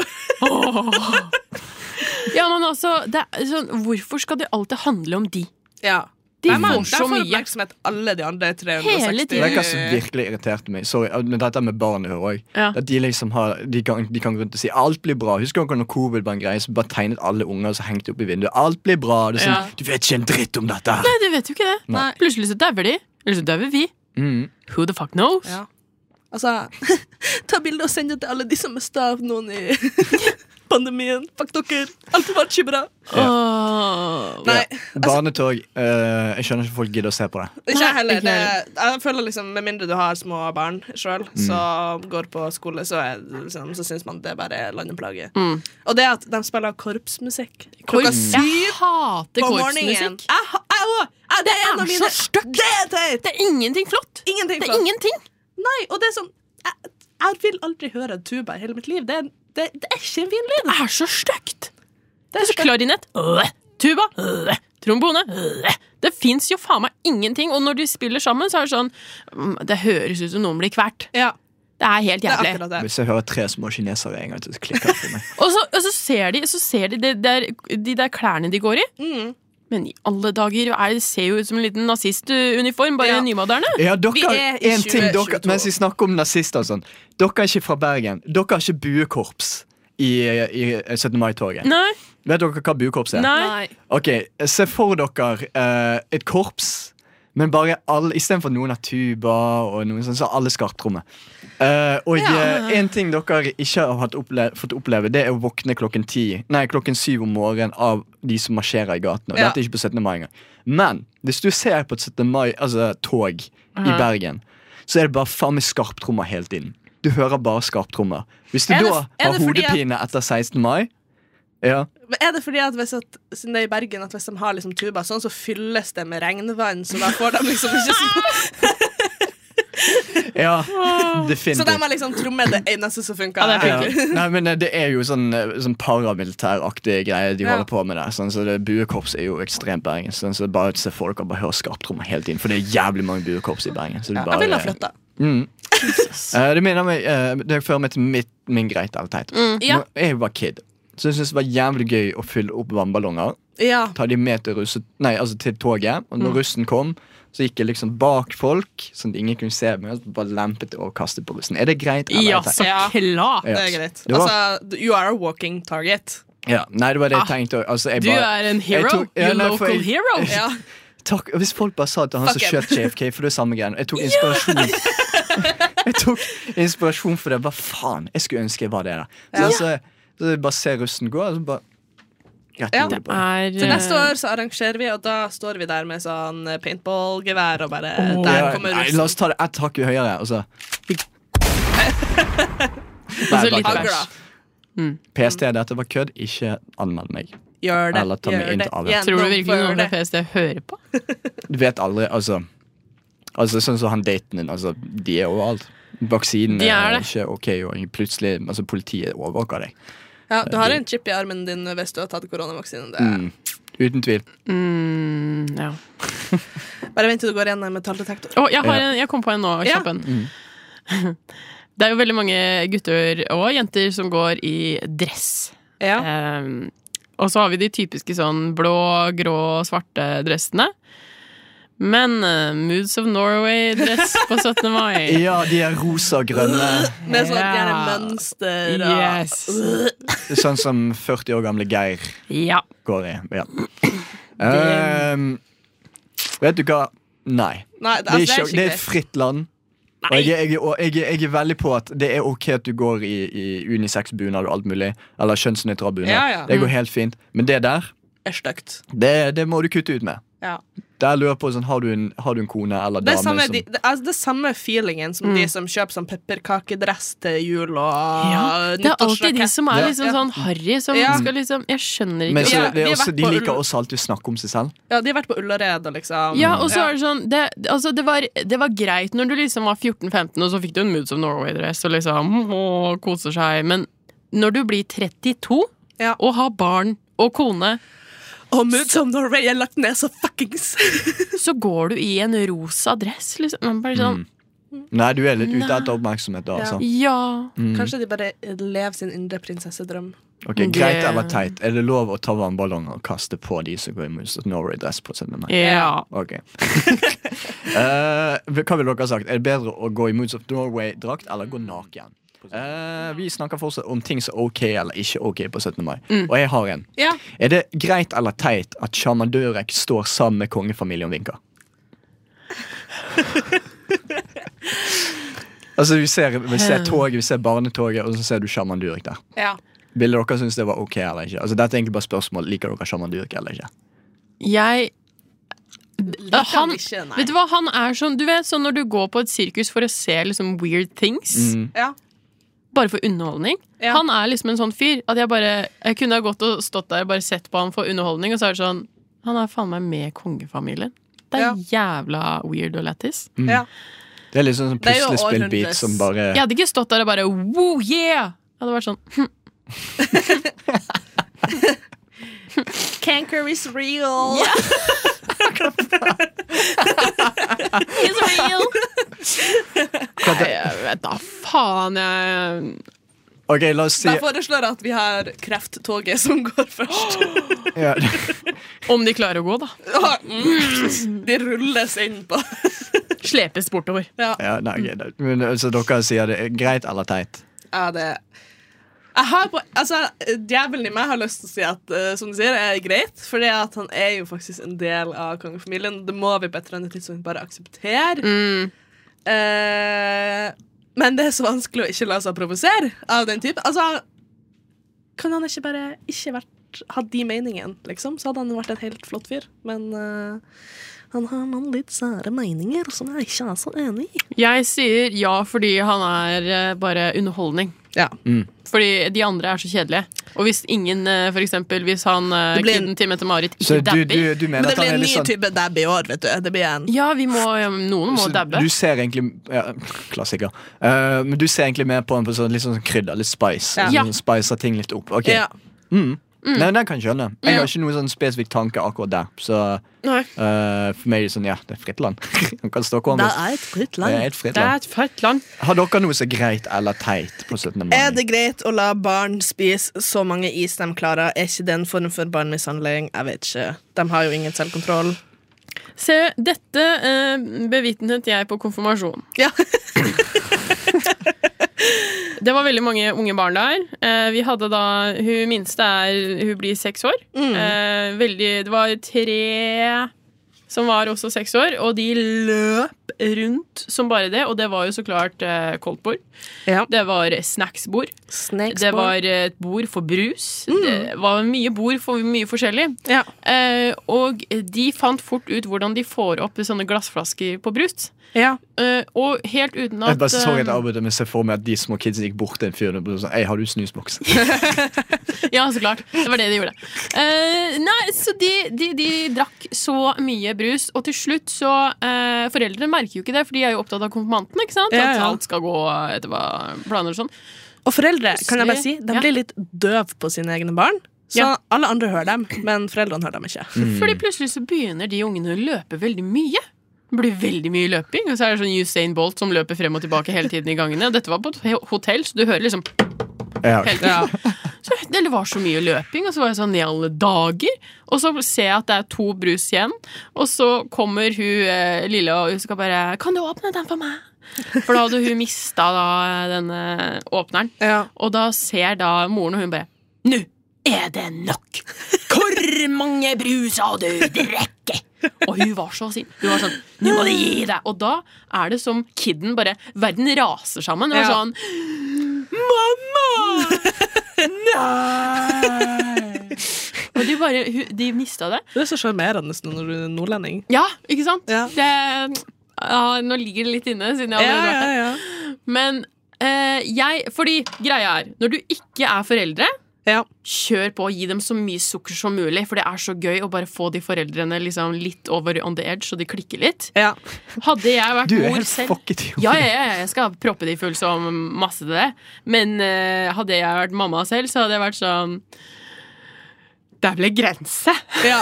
G: Ja, men altså, det er, sånn, hvorfor skal det alltid handle om de?
F: Ja.
G: De
F: Der
G: får
F: man-
G: så
F: der får
G: mye.
F: oppmerksomhet alle de andre 360
G: Hele
D: Det er
G: tiden.
D: hva som virkelig irriterte meg. Sorry, men dette med barn hører òg.
G: Ja.
D: De, liksom har- de, kan- de kan gå rundt og si alt blir bra. Husker dere når covid var en greie, så bare tegnet alle unger og så hengte de opp i vinduet. Alt blir bra. Det er sånn,
G: Ja.
D: Du vet ikke en dritt om dette her.
G: Nei, du vet jo ikke det.
D: Nei.
G: Plutselig så dauer de. Eller så dauer vi.
D: Mm.
G: Who the fuck knows?
F: Ja. Altså, ta bilde og send det til alle de som mista noen i pandemien. Fuck dere. Alt var ikke bra.
G: Åh.
F: Nei,
D: Barnetog. eh, jeg skjønner ikke folk gidder å se på det.
F: ikke jeg heller.
G: ikke heller. Mm.
F: Det, jeg føler liksom, Med mindre du har små barn sjøl som går på skole, så, er, det liksom, så syns man det bare er landeplage.
G: Mm.
F: Og det at de spiller korpsmusikk klokka
G: Korps.
F: syv
G: Jeg hater
F: på morgenen
G: korpsmusikk.
F: Jeg ha- jeg òg! Jeg- Det er en
G: er
F: av
G: så
F: mine
G: stygt.
F: Det er teit!
G: Det er ingenting flott.
F: Ingenting
G: Det
F: flott.
G: er ingenting.
F: Nei, og det er sånn Jeg, jeg vil aldri høre en tuba i hele mitt liv. Det er, det, det er ikke en fin lyd.
G: Det er så stygt. Det er så klarinett. Øh. Tuba. Øh. Trombone. Øh. Det fins jo faen meg ingenting. Og når de spiller sammen, så er det sånn mm, Det høres ut som noen blir kvert.
F: Ja,
G: Det er helt
F: det er
G: jævlig.
F: akkurat det.
D: Hvis jeg hører tre små kinesere en gang, så klikker det for meg.
G: Og så, og så ser de, så ser de det der, de der klærne de går i.
F: Mm.
G: Men i alle dager, er det ser jo ut som en liten nazistuniform, bare
F: Ja.
G: nymoderne.
D: Ja,
F: Vi
D: dere,
F: er i
D: en ting dere,
F: 2022.
D: Mens vi snakker om nazister og sånn Dere er ikke fra Bergen. Dere har ikke buekorps i, i 17. mai-toget.
G: Nei,
D: Vet dere hva buekorps er?
G: nei.
F: Nei.
D: Ok, Se for dere eh, et korps, men bare alle istedenfor noen har tuba og noen sånn, så har alle skarptromme. Eh, og
F: Ja.
D: eh, en ting dere ikke har hatt opple fått oppleve, det er å våkne klokken ti Nei, klokken syv om morgenen av de som marsjerer i gatene. Og
F: Ja.
D: Dette er ikke på 17. mai engang. Men hvis du ser på et 17. mai, altså tog i Bergen, så er det bare faen meg skarptrommer hele tiden. Du hører bare skarptrommer. Hvis du
F: Er det-
D: da
F: er
D: har
F: det fordi at-
D: hodepine etter 16. mai ja.
F: Men er det fordi at hvis at, siden det er i Bergen, at hvis de har liksom tuba sånn, så fylles det med regnvann, så da får de liksom ikke sånn
D: ja, definitivt.
F: Så de har liksom trommer det eneste som funker.
G: Ja, det er
D: Ja.
F: egentlig.
D: Nei, men eh, Det er jo sånn, eh, sånn paramilitæraktig greie de
F: Ja.
D: holder på med der. Sånn, så det Buekorps er jo ekstremt Bergen. Sånn, så bare se for dere bare høre skarptrommer hele tiden. For det er jævlig mange buekorps i Bergen. Så det,
F: Jeg
D: bare,
F: vil ha flytta.
D: Mm. Eh, det minner meg eh, Det fører meg til mitt, min greit eller teit.
F: Ja.
D: Når Jeg var kid, så jeg syntes det var jævlig gøy å fylle opp vannballonger.
F: Ja.
D: Ta de med til, russe, nei, altså til toget. Og når russen kom, så gikk jeg liksom bak folk, sånn at ingen kunne se meg. og så Bare lempet og kastet på russen. Er det greit? eller
G: Ja,
D: teit?
G: så klart.
F: Det er greit.
D: Det var-
F: Altså, you are a walking target.
D: Ja, nei, det var det jeg tenkte. Altså, jeg
G: Du
D: bare,
G: er en hero.
D: Jeg tok- ja,
G: Your
D: nei, for
G: local
D: jeg-
G: hero.
F: Ja.
D: Takk, Hvis folk bare sa til han som
F: Fuck him.
D: skjøt JFK, for det er samme greien. Jeg tok inspirasjon. jeg tok inspirasjon for det. Hva faen? Jeg skulle ønske jeg var det. da Så, altså, så jeg bare se russen gå, og så bare Rett i
F: Ja.
D: hodet
G: Det
D: på ham.
G: er
F: Så neste
G: eh,
F: år så arrangerer vi, og da står vi der med sånn paintballgevær og bare
G: Åh.
F: Der
D: Ja,
F: kommer
D: nei, La
F: russen.
D: oss ta det ett hakk høyere, og så
G: så
D: Nei,
G: litt
D: bare
F: Hagla.
D: PST, dette var kødd. Ikke anmeld meg.
F: Gjør det.
D: Eller ta
F: gjør
D: meg inn
F: det.
D: til alle.
F: Gjennomfør
G: Tror du virkelig noen
F: det.
G: fra PST hører på?
D: Du vet aldri, altså Altså Sånn som han daten din. Altså, de er overalt. Vaksinen
G: De er
D: er,
G: det.
D: ikke ok, og plutselig altså Politiet overvåker deg.
F: Ja, du har en chip i armen din hvis du har tatt koronavaksinen. Det.
D: Mm. Uten tvil.
G: Mm, ja.
D: Mm.
F: Bare vent til du går gjennom metalldetektor.
G: Å, jeg, har
D: Ja. Mm.
G: en, jeg kom på en nå.
F: Ja.
G: Kjapp en. Det er jo veldig mange gutter og jenter som går i dress.
F: Ja.
G: Ehm, og så har vi de typiske sånn blå, grå, svarte dressene. Men eh, Moods of Norway-dress på 17. mai.
D: Ja, de er rosa og grønne.
F: Med sånn
G: Ja.
F: gjerne mønster og
G: Yes.
D: Sånn som 40 år gamle Geir
G: Ja.
D: går i. Ja. Ehm, vet du hva? Nei.
F: Nei, det,
D: Det er,
F: altså,
D: ikke, det er
F: det er
D: et
F: skikkelig.
D: fritt land. Og jeg, er- jeg, er- og jeg, er- jeg er veldig på at det er ok at du går i, i unisex-bunad og alt mulig. Eller kjønnsnøytral bunad.
F: Ja, ja.
D: Det går helt fint. Men det der
F: er stygt.
D: Det, det må du kutte ut med.
F: Ja.
D: Der lurer jeg på sånn, har, du en, har du en kone eller
F: Det er
D: dame
F: samme,
D: som
F: de, det, er det samme feelingen som de som kjøper sånn pepperkakedress til jul og
G: ja. Det er alltid de
F: nyttårsrakett.
G: som er
D: Ja.
G: liksom sånn harry, som
F: Ja.
G: skal liksom Jeg skjønner ikke
D: men så,
F: Ja,
D: det
F: vi
D: er
F: har
D: også,
F: vært
D: De
F: på
D: liker
F: Ull-
D: også alltid å snakke om seg selv.
F: Ja, de har vært på Ullared og liksom
G: Ja, og så er det sånn det, altså, det, var, det var greit når du liksom var 14-15, og så fikk du en Moods of Norway-dress og liksom å, koser seg, men når du blir 32
F: Ja.
G: og har barn og kone,
F: Og Moods of Norway er lagt ned så fuckings!
G: så går du i en rosa dress, liksom. Man bare sånn
D: Nei, du er litt ute
G: Nei.
D: etter oppmerksomhet da, altså.
G: Ja.
F: Kanskje de bare lever sin indre prinsessedrøm.
D: Ok,
G: Det-
D: Greit eller teit, er det lov å ta vannballonger og kaste på de som går i Moods of Norway-dress på 17. mai?
G: Ja.
D: Ok. Eh, hva ville dere ha sagt? Er det bedre å gå i Moods of Norway-drakt eller gå naken? Eh, vi snakker fortsatt om ting som er ok eller ikke ok på 17. mai,
F: Mm.
D: og jeg har en.
F: Ja.
D: Er det greit eller teit at sjaman Durek står sammen med kongefamilien og vinker? altså, vi ser, vi ser toget, vi ser barnetoget, og så ser du sjaman Durek der.
F: Eh. Ja.
D: Ville dere synes det var ok eller ikke? Altså, dette er egentlig bare spørsmål. Liker dere sjaman Durek eller ikke?
G: Jeg
F: Liker han
G: han,
F: ikke, nei.
G: Vet du hva, han er sånn Du vet sånn når du går på et sirkus for å se liksom weird things,
F: Ja.
G: bare for underholdning.
F: Ja.
G: Han er liksom en sånn fyr at jeg bare Jeg kunne ha gått og stått der og bare sett på han for underholdning, og så er det sånn Han er faen meg med kongefamilien. Det er jævla weird og lættis.
D: Mm.
F: ja.
D: Det er litt sånn
F: Det er jo
D: puslespillbit
F: århundres-
D: som bare
G: Jeg hadde ikke stått der og bare woo, yeah! Jeg hadde vært sånn hm,
F: Canker is real!
G: It's real! Nei, jeg vet da faen, jeg
D: Ok, la oss si
F: Da foreslår jeg at vi har krefttoget som går først.
D: ja.
G: Om de klarer å gå, da.
F: Mm. De rulles inn på.
G: Slepes bortover.
F: Ja.
D: ja, nei, ok, da- men, altså, Dere sier det er greit eller teit?
F: Ja, det jeg har på, altså, Djevelen i meg har lyst til å si at eh, som du sier, er greit. Fordi at han er jo faktisk en del av kongefamilien. Det må vi på et eller annet tidspunkt bare akseptere. Eh, men det er så vanskelig å ikke la seg provosere av den type. Altså, kan han ikke bare ikke vært, hatt de meningene, liksom? Så hadde han vært en helt flott fyr. Men eh, han har noen litt sære meninger som jeg ikke er så enig i.
G: Jeg sier ja fordi han er eh, bare underholdning.
F: Ja.
G: Fordi de andre er så kjedelige. Og hvis ingen, eh, for eksempel, hvis han eh,
F: Det blir en-
G: kidden til Mette-Marit
D: Så
G: ikke
D: du,
G: dabber
D: du, du mener
F: Men det
D: at han er
F: blir en
D: litt
F: ny
D: sånn
F: type dab i år, vet du. Det blir en
G: Ja, vi må, ja, noen må
D: Så
G: dabbe.
D: Du ser egentlig ja, Klassiker. Eh, men du ser egentlig mer på den på sånn, litt sånn krydder, litt spice.
F: Ja.
D: Sånn, spicer ting litt opp. Ok.
F: Ja.
D: Mm. Nei, den kan jeg skjønne. Jeg
F: Ja.
D: har ikke noen sånn spesifikk tanke akkurat der. Så
G: Nei.
D: eh, for meg er det sånn, ja, det er fritt land. Han kan stå hvor han
F: Det
D: vil.
F: er et fritt
D: Det
F: land.
D: er et fritt
G: Det er
D: land.
G: et fett land.
D: Har dere noe som er greit eller teit på 17. mai?
F: Er det greit å la barn spise så mange is de klarer? Er ikke det en form for barnemishandling? Jeg vet ikke. De har jo ingen selvkontroll.
G: Se, dette eh, bevitnet jeg på konfirmasjon.
F: Ja.
G: Det var veldig mange unge barn der. Eh, vi hadde da, Hun minste er, hun blir seks år. Eh, veldig, det var tre som var også seks år, og de løp rundt som bare det, og det var jo så klart eh, koldtbord.
F: Ja.
G: Det var snacksbord. Mm.
F: Snakes
G: Det
F: på.
G: var et bord for brus. Det var mye bord for mye forskjellig.
F: ja.
G: Eh, og de fant fort ut hvordan de får opp sånne glassflasker på brus.
F: ja.
G: Eh, og helt uten at
D: Jeg bare så et
G: eh,
D: arbeid men jeg ser for meg at de små kidsa gikk bort til en fyr og ble sånn Ei, har du snusboks?
G: Ja, så klart. Det var det de gjorde. Eh, nei, så de, de, de drakk så mye brus, og til slutt så eh, Foreldrene merker jo ikke det, for de er jo opptatt av konfirmantene. ikke sant?
F: Ja,
G: At
F: ja.
G: alt skal gå etter hva planer og sånn.
F: Og foreldre, kan jeg bare si, de
G: Ja.
F: blir litt døv på sine egne barn. Så
G: Ja.
F: alle andre hører dem, men foreldrene hører dem ikke.
D: Mm.
G: Fordi plutselig så begynner de ungene å løpe veldig mye. Det blir veldig mye løping, og så er det sånn Usain Bolt som løper frem og tilbake hele tiden i gangene. Og dette var på et he- hotell, så du hører liksom
D: Ja.
G: hele tiden. Så det var så mye løping, og så var jeg sånn i alle dager. Og så ser jeg at det er to brus igjen, og så kommer hun eh, lille og hun skal bare Kan du åpne den for meg? For da hadde hun mista da, denne åpneren.
F: Ja.
G: Og da ser da moren, og hun bare Nå er det nok! Hvor mange brus har du drukket? Og hun var så sint. Hun var sånn Nå må du gi deg! Og da er det som kidden bare Verden raser sammen. Det var
F: Ja.
G: sånn Mamma! Nei! Og de bare hun- De mista det.
F: Det er så sjarmerende når du er nordlending.
G: Ja, ikke sant?
F: Ja.
G: Det, ja, nå ligger det litt inne, siden jeg
F: Ja,
G: allerede har
F: ja,
G: vært der.
F: ja.
G: Men eh, jeg Fordi greia er, når du ikke er foreldre
F: Ja.
G: Kjør på, gi dem så mye sukker som mulig, for det er så gøy å bare få de foreldrene liksom litt over on the edge, så de klikker litt.
F: ja.
G: Hadde jeg vært
D: Du er
G: mor
D: helt
G: selv
D: fucket i
G: ja,
D: hodet.
G: ja, ja, jeg skal proppe de full som masse til det. Men eh, hadde jeg vært mamma selv, så hadde jeg vært sånn Der ble grense!
F: ja.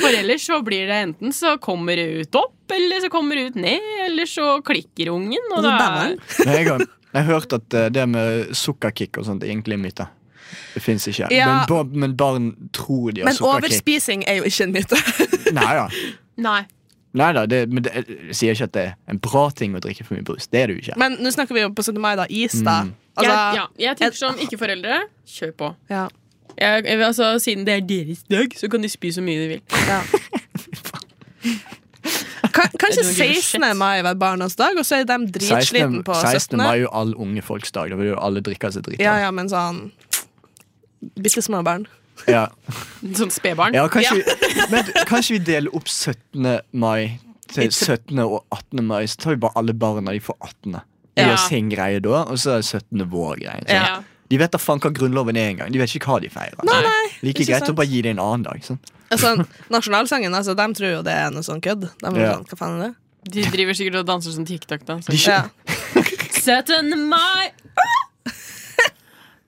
G: For ellers så blir det enten så kommer det ut opp, eller så kommer det ut ned, eller så klikker ungen, og
F: så
G: da
F: banner den.
D: Nei, Jeg har, jeg har hørt at eh, det med sukkerkick og sånt egentlig er myte. Det fins ikke.
F: Ja.
D: Men, bar, men barn tror de har
F: Men
D: sukkerkick.
F: overspising er jo ikke en myte.
D: Nei da.
G: Nei.
D: Nei da, det, men det, jeg sier ikke at det er en bra ting å drikke for mye brus. Det er det jo ikke.
F: Men nå snakker vi jo på 17. mai, da. Is, da.
D: Mm.
G: jeg, ja,
F: Altså,
G: jeg tenker sånn, ikke foreldre, kjør på.
F: ja.
G: Jeg, jeg, altså, siden det er deres dag, så kan de spy så mye de vil.
F: Ja. Kan, kanskje
G: Jeg tror ikke det er
F: 16. mai var barnas dag, og så er de dritsliten
D: 16.
F: på
D: 16.
F: 17.
D: mai er jo alle unge folks dag. Da vil jo alle drikke seg drita.
F: Ja, ja, men sånn Bitte små barn.
D: Ja.
G: Sånn spedbarn.
D: Ja, kanskje, Vi, men, kanskje vi deler opp 17. mai til 17. og 18. mai. Så tar vi bare alle barna de får 18. De
G: Ja.
D: har sin greie da, og så er 17. vår greie. sant?
G: Ja.
D: De vet da faen hva Grunnloven er engang. De vet ikke hva de feirer.
G: Nei.
D: like
F: ikke
D: greit å
F: sant.
D: bare gi det en annen dag. sant?
F: Altså, Nasjonalsangen, altså, de tror jo det er noe sånn kødd. De er
D: Ja.
F: sånn, hva faen er det?
G: De driver sikkert og danser sånn TikTok. Da,
D: De
G: sånn.
D: skj-
F: Ja.
G: 17. mai! Ah!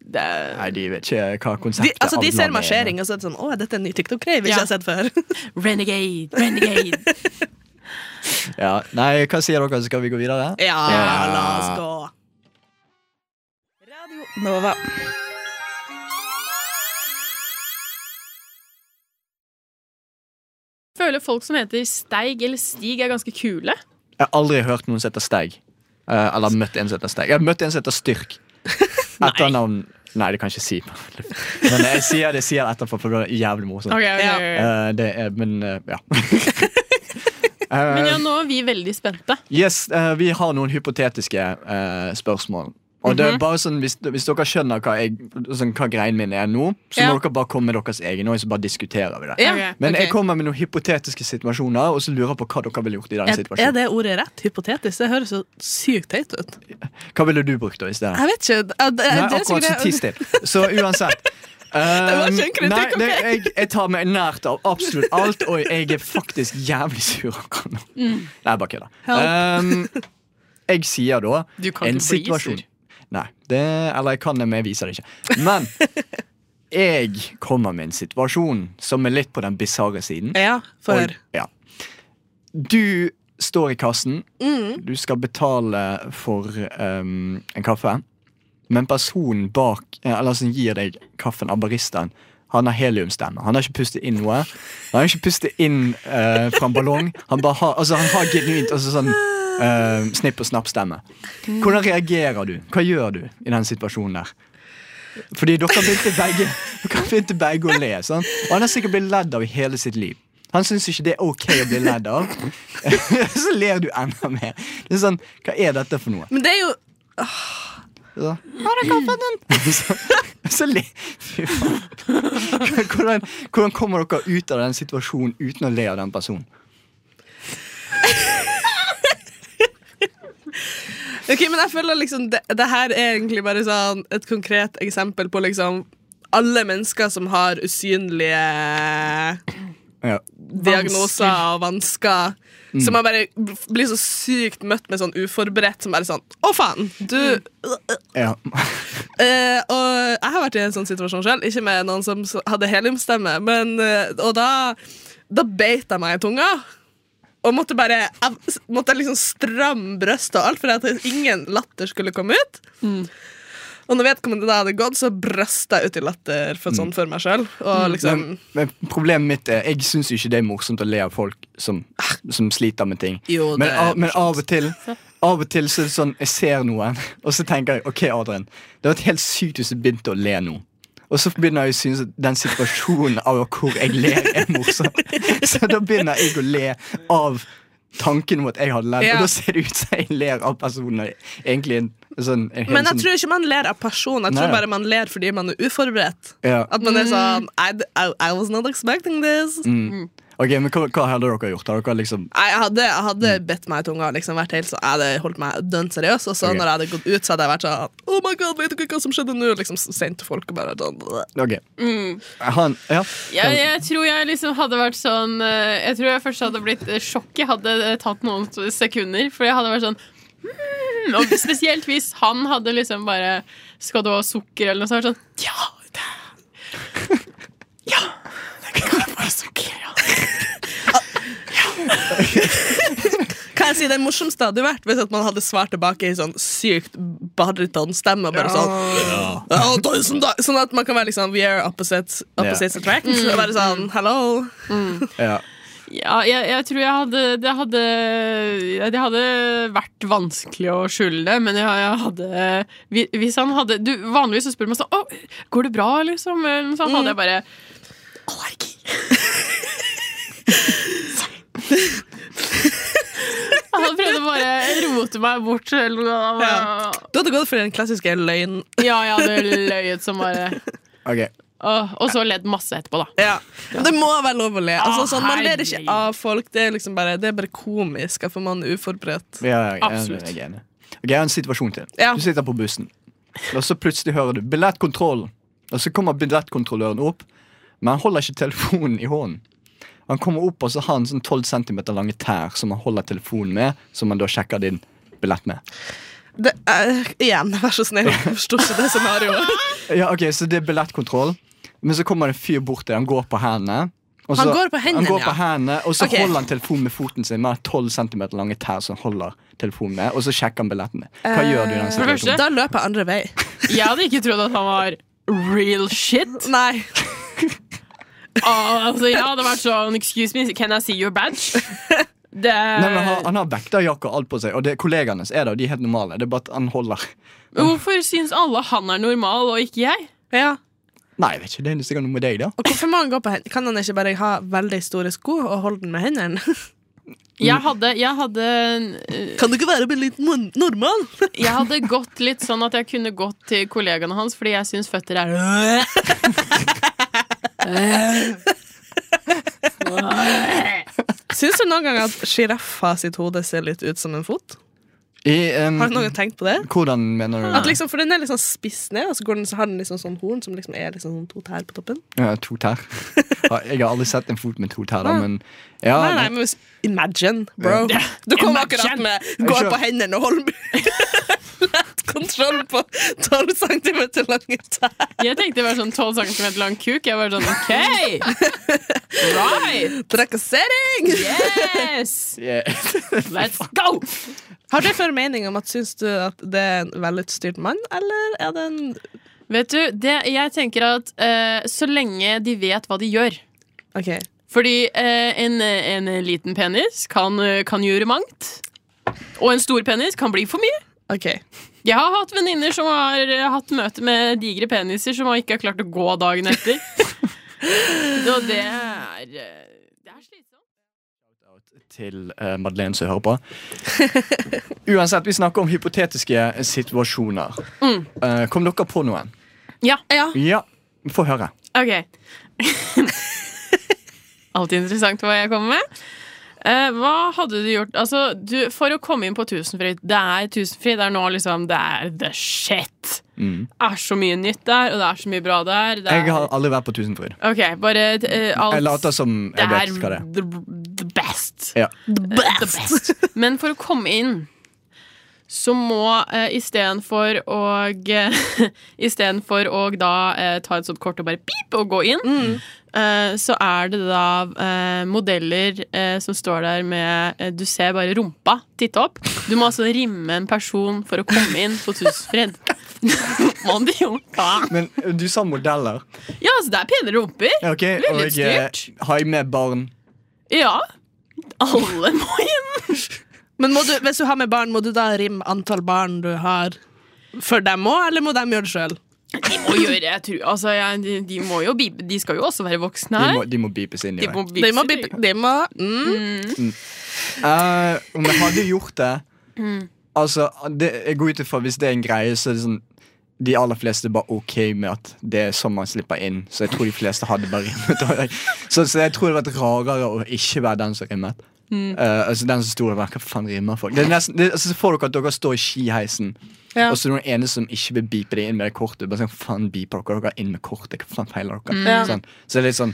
G: Det er
D: Nei, de vet ikke hva
F: De,
D: konseptet
F: altså, de
D: av
F: ser
D: navnet er.
F: marsjering, og så er det sånn Å, er dette en ny TikTok-greie vi
G: Ja.
F: ikke har sett før?
G: renegade, renegade.
D: Ja. Nei, hva sier dere? Skal vi gå videre?
F: Ja,
D: Ja.
F: la oss gå. Radio Nova.
G: Føler folk som heter Steig eller Stig, er ganske kule.
D: Jeg har aldri hørt noen sette Steig. Eh, eller møtt en sette Steig. Jeg har møtt en sette Styrk. Etternavn Nei, det kan jeg ikke si. på luft. Men jeg sier det sier jeg etterpå, for det er jævlig morsomt.
F: Ja.
D: Eh, det er, men eh, ja.
G: Men
D: Eh,
G: ja, nå er vi veldig spente.
D: yes, eh, vi har noen hypotetiske eh, spørsmål. Og det
F: Mhm.
D: er bare sånn, hvis, hvis dere skjønner hva, jeg, sånn, hva greien min er nå, så
G: Ja.
D: må dere bare komme med deres egen. Og så bare diskuterer vi det
F: Ja.
G: Ok.
D: Men
F: Ok.
D: jeg kommer med noen hypotetiske situasjoner, og så lurer jeg på hva dere ville gjort i den
F: Er, er
D: situasjonen.
F: det ordet rett? Hypotetisk? Det høres så sykt teit ut.
D: Hva ville du brukt da i stedet?
F: Jeg vet ikke. Ja,
D: Nei,
F: det- det er
D: akkurat så
F: sikkert-
D: ti still. Så uansett.
F: var
D: Um,
F: ikke en kritikk,
D: nei,
F: ok?
D: det, jeg, jeg tar meg nært av absolutt alt, og jeg er faktisk jævlig sur akkurat nå.
F: Mm.
D: Nei, jeg bare kødder. Um, jeg sier da
G: Du kan
D: en
G: ikke bli
D: situasjon
G: sur.
D: Nei, det, eller jeg kan det, men jeg viser det ikke. Men jeg kommer med en situasjon som er litt på den bisarre siden.
F: Ja, få
D: Og-
F: høre.
D: Ja. Du står i kassen. Du skal betale for um, en kaffe. Men personen bak, eh, eller som gir deg kaffen av baristaen, han har heliumstemme. Han har ikke pustet inn noe. Han har ikke pustet inn eh, fra en ballong. Han, bare har, altså, han har genuint altså, sånn eh, snipp og snapp-stemme. Hvordan reagerer du? Hva gjør du i den situasjonen der? Fordi dere begynte begge Dere begynte begge å le. sant? Og han har sikkert blitt ledd av i hele sitt liv. Han syns ikke det er ok å bli ledd av. så ler du enda mer. Det er sånn, Hva er dette for noe?
F: Men det er jo
D: Så, Har du kaffen din? så, så le Fy faen. Hvordan, hvordan kommer dere ut av den situasjonen uten å le av den personen?
F: Ok, men jeg føler liksom det, det her er egentlig bare sånn et konkret eksempel på liksom alle mennesker som har usynlige
D: Ja.
F: diagnoser og vansker. Som man bare b- blir så sykt møtt med sånn uforberedt som bare sånn Å, faen! Du
D: ja.
F: eh, Og jeg har vært i en sånn situasjon selv, ikke med noen som s- hadde heliumstemme, men eh, Og da, da beit jeg meg i tunga. Og måtte bare jeg, s- måtte liksom stramme brystet og alt for at ingen latter skulle komme ut.
D: Mm.
F: Og når vedkommende da hadde gått, så brøst jeg ut i latter for, sånn for meg sjøl. Og liksom
D: Mm. Men, men problemet mitt er Jeg syns ikke det er morsomt å le av folk som, som sliter med ting.
F: Jo, det
D: men,
F: er
D: av, men av og til Av og til så er det sånn jeg ser noen, og så tenker jeg OK, Adrian, det hadde vært helt sykt hvis du begynte å le nå. Og så begynner jeg å synes at den situasjonen av hvor jeg ler, er morsom. Så da begynner jeg å le av tanken om at jeg hadde ledd,
F: Ja.
D: og da ser det ut som jeg ler av personen. Egentlig en, sånn, en hel
F: Men jeg
D: sånn-
F: tror ikke man ler av person. Jeg tror
D: Nei.
F: bare man ler fordi man er uforberedt.
D: ja.
F: At man er sånn I, I, I was not expecting this.
D: Ok, men hva, hva hadde dere gjort? Har dere liksom
F: Nei, Jeg hadde, jeg hadde bedt meg i tunga. Liksom vært helt, så jeg hadde holdt meg dønn seriøs. Og så
D: Ok.
F: når jeg hadde gått ut, så hadde jeg vært sånn Oh my god, vet du ikke hva som skjedde nå? Liksom Sendt til folk og bare sånn
D: Ok.
F: Mm.
D: Han, ja.
G: Jeg, jeg tror jeg liksom hadde vært sånn eh, Jeg tror jeg først hadde blitt eh, sjokk. Jeg hadde eh, tatt noen t- sekunder, for jeg hadde vært sånn «Hmm», Og spesielt hvis han hadde liksom bare Skal du ha sukker eller noe sånt? Sånn, ja! Det ja! Det kan jeg bare sukker, ja.
F: Kan jeg si det morsomste hadde vært hvis at man hadde svart tilbake i sånn sykt barytonstemme. og Bare sånn «Ja, tusen takk!» Sånn at man kan være liksom We are opposites, opposites attract. Og bare sånn Hello.
D: Ja.
G: Ja, jeg, jeg tror jeg hadde det, hadde det hadde vært vanskelig å skjule det, men jeg, jeg hadde hvi- Hvis han hadde du, Vanligvis så spør man sånn Å, går det bra, liksom? Men så hadde jeg bare Allergi. Jeg hadde prøvd å bare rote meg bort. Eller, noe.
F: Ja. Du hadde gått for den klassiske løgnen.
G: ja, jeg hadde løyet som bare
D: Ok.
G: Åh, Og så ledd masse etterpå, da.
F: Ja. Det må være lov å le. Altså, sånn, man ler ikke
G: herregud.
F: av folk. Det er, liksom bare, det er bare komisk at man er uforberedt.
D: Ja, ja, ja,
G: Absolutt.
D: Jeg er enig. Ok, jeg har en situasjon til.
F: Ja.
D: Du sitter på bussen, og så plutselig hører du 'billettkontrollen'. Og så kommer billettkontrolløren opp, men han holder ikke telefonen i hånden. Han kommer opp, og så har han sånn 12 cm lange tær som han holder telefonen med, som han da sjekker din billett med.
F: Det er, igjen, vær så snill. Jeg forstår ikke det scenarioet.
D: Ja, ok, Så det er billettkontroll, men så kommer det en fyr bort til deg, han går på hendene. og
F: Han går på hendene,
D: han går
F: ja.
D: på hendene, Og så
F: Ok.
D: holder han telefonen med foten sin med 12 cm lange tær som han holder telefonen med, og så sjekker han billettene. Hva
F: Eh,
D: gjør du i den
G: det første-
D: situasjonen?
F: Da løper jeg andre vei.
G: Jeg hadde ikke trodd at han var real shit.
F: Nei.
G: Ah, altså, jeg hadde vært sånn Excuse me, can I see your badge? Det
D: Nei, men han, han har vekterjakke og alt på seg, og det er kollegaene hans er det, og de er helt normale. Det er bare at han holder
G: Hvorfor syns alle han er normal og ikke jeg?
F: Ja.
D: Nei, jeg vet ikke, det er sikkert noe med deg, da.
F: Og hvorfor må han gå på hendene? Kan han ikke bare ha veldig store sko og holde den med hendene?
D: Mm.
G: Jeg hadde, jeg hadde, eh,
F: Kan du ikke være litt normal?
G: jeg hadde gått litt sånn at jeg kunne gått til kollegaene hans, fordi jeg syns føtter er
F: Syns du noen gang at sjiraffa sitt hode ser litt ut som en fot?
D: I, em,
F: Har du noen gang tenkt på det?
D: hvordan mener du
F: At liksom, for den er litt sånn spiss ned, og så går den, så har den liksom sånn horn som liksom er liksom sånn to tær på toppen.
D: ja, To tær. Ja, Jeg har aldri sett en fot med to tær, da, men ja,
F: Ah. Nei, nei, men hvis- imagine, bro. Du kom akkurat med
D: Sure.
F: går på hendene og hold lett kontroll på 12 cm lange tær.
G: Jeg tenkte det var sånn 12 cm lang kuk. Jeg var sånn OK! Right!
F: Trakassering!
G: Yes!
D: yeah.
G: Let's go!
F: Har du en formening om at syns du at det er en velutstyrt mann, eller er det en
G: Vet du, det, jeg tenker at eh, så lenge de vet hva de gjør
F: OK.
G: Fordi eh, en, en liten penis kan, eh, kan gjøre mangt. Og en stor penis kan bli for mye.
F: ok
G: Jeg har hatt venninner som har eh, hatt møte med digre peniser som ikke har klart å gå dagen etter. Så det er, eh, det er slitsomt.
D: til eh, Madeleine som hører på. Uansett, vi snakker om hypotetiske situasjoner. Eh, kom dere på noen?
G: Mm. Ja.
D: Ja, få høre.
G: Ok. Alltid interessant hva jeg kommer med. Eh, hva hadde du gjort altså, du, For å komme inn på Tusenfryd Det er Tusenfryd, det er nå liksom Det er the shit. Det er så mye nytt der, og det er så mye bra der. Det er,
D: Mm. Jeg har aldri vært på Tusenfryd.
G: Ok, bare eh, alt
D: Jeg later som jeg
G: det
D: vet
G: er
D: hva det er.
G: the, the best.
D: Ja.
G: Eh, The best. Men for å komme inn så må eh, istedenfor å Istedenfor å da eh, ta et sånt kort og bare pip og gå inn, eh, så er det da eh, modeller eh, som står der med eh, Du ser bare rumpa titte opp. Du må altså rimme en person for å komme inn på Tusenfryd. Må du jo ta.
D: Men eh, du sa modeller.
G: Ja, altså, det er pene rumper.
D: Ja, ok,
G: Veldig
D: og eh,
G: styrt.
D: har jeg med barn?
G: Ja. Alle må inn!
F: Men må du, hvis du har med barn, må du da rimme antall barn du har for dem òg, eller må de gjøre det sjøl?
G: De må gjøre jeg tror, altså, jeg, de, de må jo bipe. De skal jo også være voksne
D: De
G: her.
D: må, de må beepes inn i
G: De må
D: meg.
G: bipe.
F: De må bippe De må mm.
D: Eh, om jeg hadde gjort det
G: Mm.
D: Altså, det, jeg går ut ifra hvis det er en greie, så er det sånn de aller fleste er bare ok med at det er sånn man slipper inn. Så jeg tror de fleste hadde bare rimmet. så, så jeg tror det hadde vært rarere å ikke være den som rimmet. Eh, altså den som sto der, hva faen rimer folk? Det er nesten, det, altså, så får dere at dere står i skiheisen,
G: Ja.
D: og så er det noen ene som ikke vil beepe det inn med det kortet. Bare sånn, faen beeper dere dere inn med kortet, hva faen feiler dere? Sånn. Så det er litt sånn,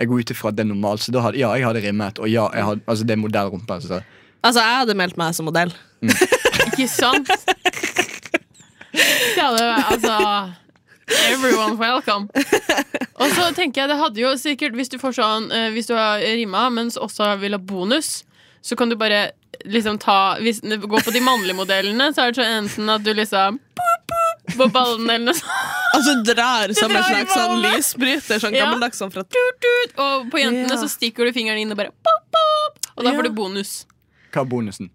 D: jeg går ut ifra at det er normalt, så da hadde, ja, jeg hadde rimmet, og ja, jeg hadde, altså det er modellrumpa. Så,
F: Altså, jeg hadde meldt meg som modell.
G: Ikke sant? Ja, det var, altså Everyone welcome. Og så tenker jeg det hadde jo sikkert Hvis du får sånn eh, Hvis du har rima, men også vil ha bonus, så kan du bare liksom ta hvis, Gå på de mannlige modellene, så er det sånn enten at du liksom boop, boop, på ballen eller noe sånt.
F: Altså drar som en
G: drar i
F: slags sånn
G: ballene.
F: lysbryter, sånn
G: Ja.
F: gammeldags sånn fra
G: tut, tut, og på jentene
F: Ja.
G: så stikker du fingeren inn og bare pop, pop, Og da
F: Ja.
G: får du bonus.
D: hva er bonusen?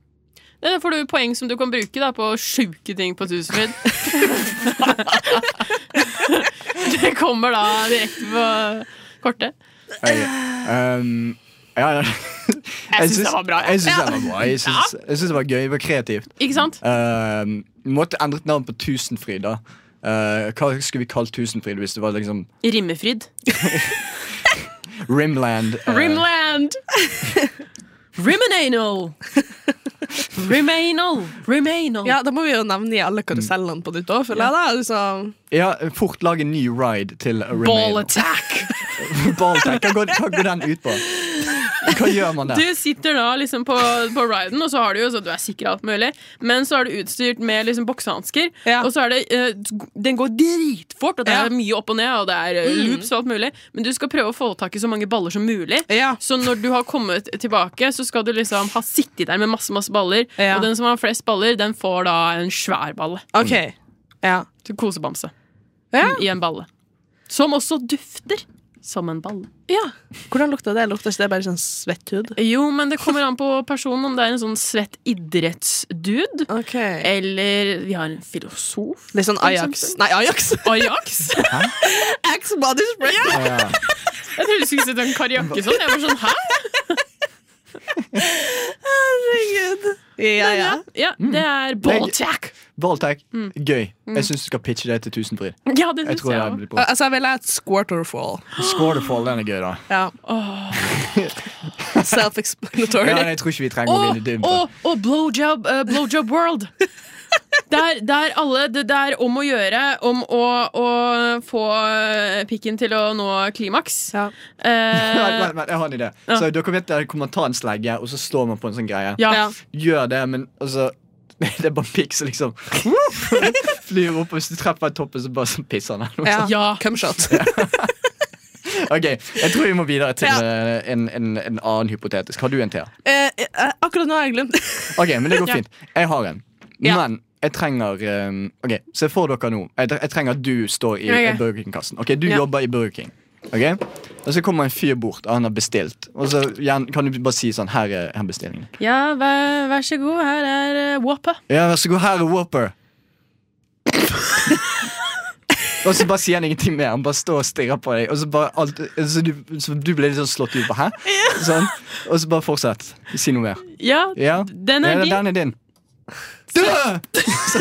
G: Ja, Da får du poeng som du kan bruke da, på sjuke ting på Tusenfryd. det kommer da direkte på kortet.
D: Jeg, um, ja, ja.
G: Jeg syns det var bra.
D: Jeg syns
G: Ja.
D: det var bra. Jeg syns, jeg syns det var gøy. Det var kreativt.
G: Ikke sant?
D: Um, måtte endret navn på Tusenfryd, da. Uh, hva skulle vi kalt Tusenfryd hvis det var liksom
G: Rimmefryd.
D: Rimland? uh,
G: Rimland! Rimananal! Remainal! Remainal!
F: Ja, da må vi jo nevne i alle karusellene på nytt òg, føler jeg. da altså,
D: ja, fort lag en ny ride til Rimland.
G: Ball attack!
D: Balltack. Hva, går- hva går den ut på? Hva gjør man der?
G: Du sitter da liksom på, på riden, og så har du jo så du er sikker alt mulig, men så er du utstyrt med liksom boksehansker,
F: Ja.
G: og så er det eh, Den går dritfort, og det
F: Ja. Mm.
G: er mye opp og ned, og det er eh, loops og alt mulig, men du skal prøve å få tak i så mange baller som mulig.
F: Ja.
G: Så når du har kommet tilbake, så skal du liksom ha sittet der med masse, masse baller,
F: Ja.
G: og den som har flest baller, den får da en svær balle.
F: OK. Ja.
G: Så Kosebamse
F: Ja.
G: i en balle. Som også dufter som en balle.
F: ja. Hvordan lukter det? Lukter ikke det bare sånn svett hud?
G: Jo, men det kommer an på personen. Om det er en sånn svett idrettsdude,
F: Ok
G: eller vi har en filosof.
F: Litt sånn Ajax. Nei, Ajax!
G: Ajax?
F: Axe body spray!
D: Ja.
G: Jeg trodde du skulle sette en karjakke sånn. Jeg var sånn, hæ?
F: Herregud. Ja, ja.
G: Ja,
D: Mm.
G: det er
D: Legg-
G: balltack.
D: Balltack. Gøy. Jeg syns du skal pitche det til Tusenfryd.
G: Ja, det
D: Jeg
G: syns
D: tror
G: Mm. jeg
D: det
G: òg.
D: blir bra.
F: Altså, jeg ville ha et squatterfall.
D: Squarefall, den er gøy, da.
F: Ja. Self-explanatory.
D: Ja, nei, jeg tror ikke vi trenger å vinne
G: Og,
D: dybden.
G: og, og blowjob, eh, blowjob world. Der, der alle Det det er om å gjøre om å, å få eh, pikken til å nå klimaks.
F: Ja.
D: Vent,
G: Eh,
D: vent, vent, jeg har en idé. Så dere vet det er kommentarslegge, og så står man på en sånn greie.
G: ja.
D: Gjør det, men altså Det er bare pikk som liksom flyr opp, og hvis du treffer toppen, så bare så pisser han.
F: Ja.
G: Ja.
F: Cumshot.
D: Ok, Jeg tror vi må videre til
F: Ja.
D: eh, en, en, en annen hypotetisk. Har du en til?
F: Eh, eh, akkurat nå har jeg glemt
D: Ok, men det går fint. Jeg har en.
G: Ja.
D: Men jeg trenger eh, Ok, Se for dere nå. Jeg, tre- jeg trenger at du står i
G: Ok.
D: i Burger King-kassen. Ok, Du
G: Ja.
D: jobber i Burger King. Ok? Og så kommer en fyr bort, og han har bestilt. Og så gjerne- kan du bare si sånn Her er her er bestillingen.
G: ja vær, vær så god. Her eh, er uh, Whopper.
D: Ja, vær så god, her er Whopper. Og så bare sier han ingenting mer. Han bare står og stirrer på deg. Og så bare alt, så du, så du ble litt sånn slått ut på hæ? Sånn. Og så bare fortsett. Si noe mer.
G: Ja,
D: Ja,
G: den
D: Ja,
G: er din.
D: Den er din. Dø! Så,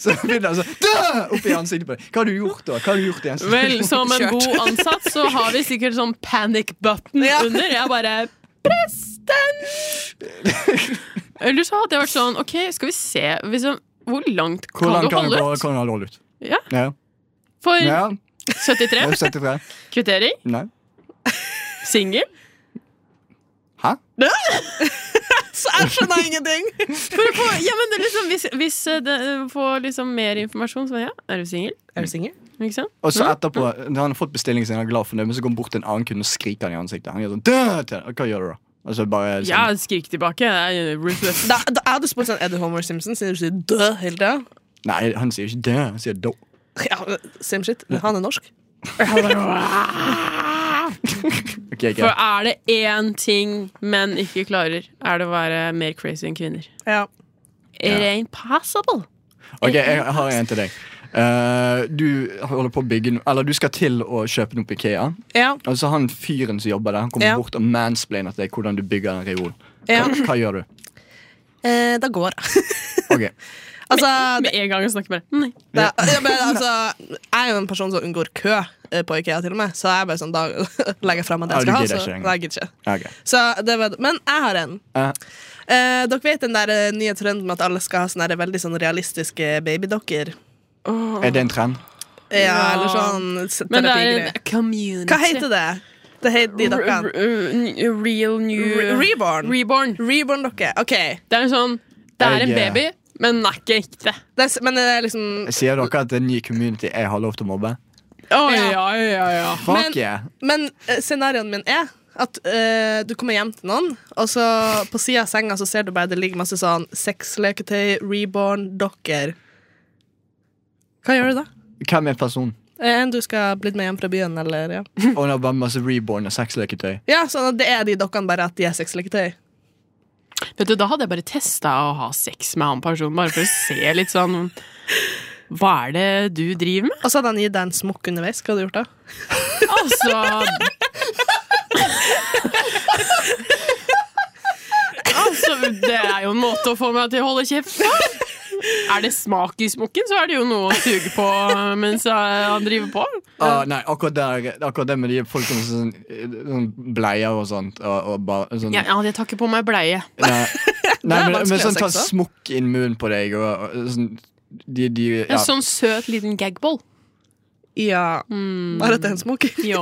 D: så begynner han sånn Dø! Opp i ansiktet på deg. Hva har du gjort da? Hva har du gjort i ansiktet?
G: Vel, som en
F: Kjørt.
G: god ansatt så har vi sikkert sånn panic button
F: Ja.
G: under. Jeg bare Presten! Eller så hadde jeg vært sånn OK, skal vi se liksom, Hvor langt kan
D: Hvordan
G: du
D: kan du
G: holde
D: gå-
G: ut?
D: kan du holde ut?
G: Ja.
D: Ja.
G: For
D: ja.
G: 73.
D: 73.
G: Kvittering.
D: Nei.
G: Singel.
D: Hæ?
F: Så jeg skjønner ingenting!
G: For å få Ja, men det er liksom, hvis, hvis eh, det, eh, får liksom mer informasjon, så ja, er du singel?
F: Er du singel?
G: Ikke sant?
D: Og
F: Mm.
D: så etterpå, når han har fått bestillingen sin, han er glad for det, men så går han bort til en annen kunde og skriker han i ansiktet. Han gjør sånn, dø til deg. Hva gjør du da? Og så bare sånn,
G: Ja, skrik tilbake. Det er Ruthless.
F: Da, da, jeg hadde spurt sånn, er det Homer Simpson siden du sier dø hele tida?
D: Nei, han sier ikke dø, han sier dø.
F: Ja, men same shit. Men han er norsk.
D: Ok, greit.
G: For er det én ting menn ikke klarer, er det å være mer crazy enn kvinner.
F: Ja.
G: It ain't possible.
D: Ok, jeg har en til deg. Eh, du holder på å bygge no- Eller du skal til å kjøpe noe på Ikea.
F: Ja.
D: Og så han fyren som jobber der, han kommer
F: Ja.
D: bort og mansplainer til deg hvordan du bygger en reol.
F: Ja.
D: Hva, hva gjør du?
F: Eh, da går jeg.
D: Ok,
F: altså, det,
G: Med en gang jeg snakker med deg. Nei.
F: det, ja, men, altså, jeg er jo en person som unngår kø eh, på Ikea, til og med. Så jeg bare sånn, da legger jeg fra meg det
D: Ja,
F: jeg
D: du
F: skal ha.
D: gidder
F: Så,
D: ikke engang.
F: Nei, jeg gidder ikke.
D: ja, greit.
F: Så det var, men jeg har en.
D: Eh,
F: Eh, dere vet den der eh, nye trenden med at alle skal ha sånne der veldig sånn realistiske babydokker?
D: er det en trend?
F: Ja,
G: Ja.
F: eller sånn s-
G: Men det er
F: terapigreier.
G: en community.
F: Hva heter det? Det heter de dokkene.
G: Real new
F: Re- Reborn.
G: Reborn.
F: Reborn-dokke. OK.
G: Det er en sånn Det er en
D: Jeg, eh,
G: baby, men den er ikke ekte.
F: Det er, s- men det er liksom
D: Sier dere at det er en ny community jeg har lov til å mobbe?
G: Oh,
F: Ja.
G: ja, ja.
F: Men-
D: Fuck yeah!
F: Men eh, scenarioen min er at eh, du kommer hjem til noen, og så på sida av senga så ser du bare det ligger masse sånn sexleketøy, reborn, dokker. Hva gjør du da?
D: Hvem er personen?
F: Eh, En du skal ha blitt med hjem fra byen, eller ja.
D: Og han har bare masse reborn og sexleketøy.
F: Ja, sånn at det er de dokkene, bare at de er sexleketøy.
G: Vet du, Da hadde jeg bare testa å ha sex med han personen, bare for å se litt sånn Hva er det du driver med?
F: Og så hadde han gitt deg en smokk underveis. Hva hadde du gjort da?
G: Altså Altså, det er jo en måte å få meg til å holde kjeft på. Er det smak i smokken, så er det jo noe å suge på mens eh, han driver på.
D: Ah, nei, akkurat, der, akkurat det med de folkene med sånn, sånn bleier og sånt. Og, og bare, sånn,
G: Ja, ja, jeg tar ikke på meg bleie.
D: Nei, nei
F: er
D: men,
F: vanskelig
D: men
F: å
D: sånn ta
F: sexe.
D: smokk inn munnen på deg og, og sånn de, de,
G: En
D: ja.
G: sånn søt liten gagball.
F: Ja, bare at det er en smokk.
G: Ja.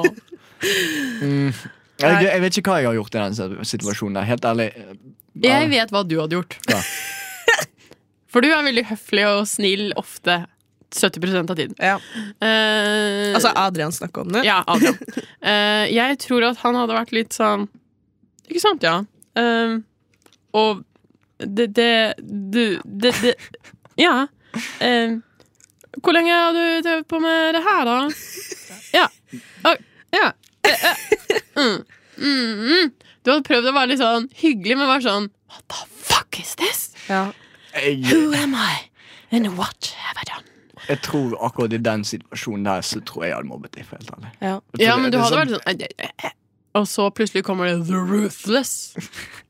D: jeg, jeg vet ikke hva jeg har gjort i den situasjonen. der, Helt ærlig.
G: Jeg vet hva du hadde gjort.
D: Ja.
G: For du er veldig høflig og snill ofte. 70 av tiden.
F: Ja.
G: Eh,
F: Altså Adrian snakker om det.
G: Ja, Adrian. Eh, jeg tror at han hadde vært litt sånn Ikke sant, ja. Eh, og det Det du det, det Ja. Eh, hvor lenge har du drevet på med det her, da? Ja. Oi, ja. Eh, eh. Mm. Mm, mm. Du hadde prøvd å være litt sånn hyggelig, men være sånn What the fuck is this?
D: Jeg,
G: Who am I? And what have I done?
D: jeg tror akkurat i den situasjonen der så tror jeg jeg hadde mobbet deg. For helt ærlig.
F: Ja.
D: Jeg tror
G: Ja,
D: det-
G: men du
D: det er
G: hadde
D: sånn-
G: vært sånn eh, eh, eh, Og så plutselig kommer det The Ruthless.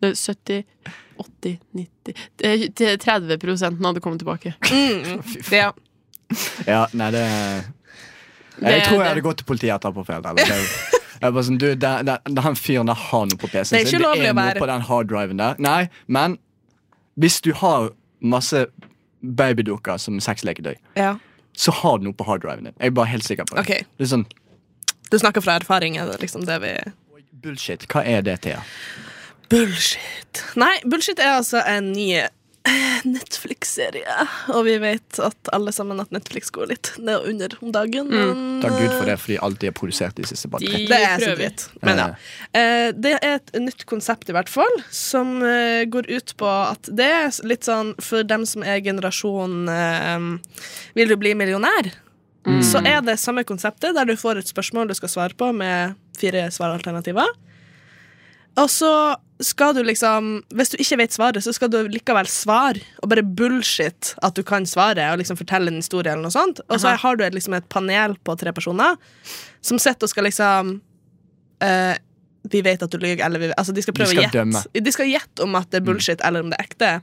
G: Det er 70, 80, 90 det er- det er 30 prosenten hadde kommet tilbake. sånn,
F: Mm. ja.
D: Ja, nei, det Nei, Jeg
G: Det-
D: tror jeg
G: det-
D: hadde gått til politiet etterpå. for helt ærlig. Det- Jeg bare sånn, du, det- det- det- Han fyren der har noe på PC-en
F: Det er ikke
D: sin. Det
F: lovlig
D: er
F: å
D: noe
F: være-
D: på den harddriven der. Nei, men hvis du har masse babydukker som sexleketøy,
F: ja.
D: så har du noe på harddriven din. Jeg er bare helt sikker på det.
F: Ok.
D: Det er sånn,
F: Du snakker fra erfaring, er det liksom det vi
D: Bullshit. Hva er det, Thea?
F: Bullshit. Nei, bullshit er altså en ny eh, Netflix-serie. Og vi vet at alle sammen at Netflix går litt ned og under om dagen. Men,
D: Takk Gud for det, fordi alt de har produsert de siste bare
G: De-
D: tre.
F: eh, Det er så
G: prøver.
F: dritt. Men ja. Eh, Det er et nytt konsept i hvert fall, som eh, går ut på at det er litt sånn for dem som er generasjon eh, Vil du bli millionær? Så er det samme konseptet, der du får et spørsmål du skal svare på med fire svaralternativer. Og så skal du liksom Hvis du ikke vet svaret, så skal du likevel svare. Og bare bullshit at du kan svaret, og liksom fortelle en historie eller noe sånt. Og så
G: Aha.
F: har du et, liksom et panel på tre personer som sitter og skal liksom eh, Vi vet at du lyver, eller vi, altså, De skal prøve
D: skal
F: å
D: dømme. Mm.
F: gjette. De skal gjette om at det er bullshit, eller om det er ekte.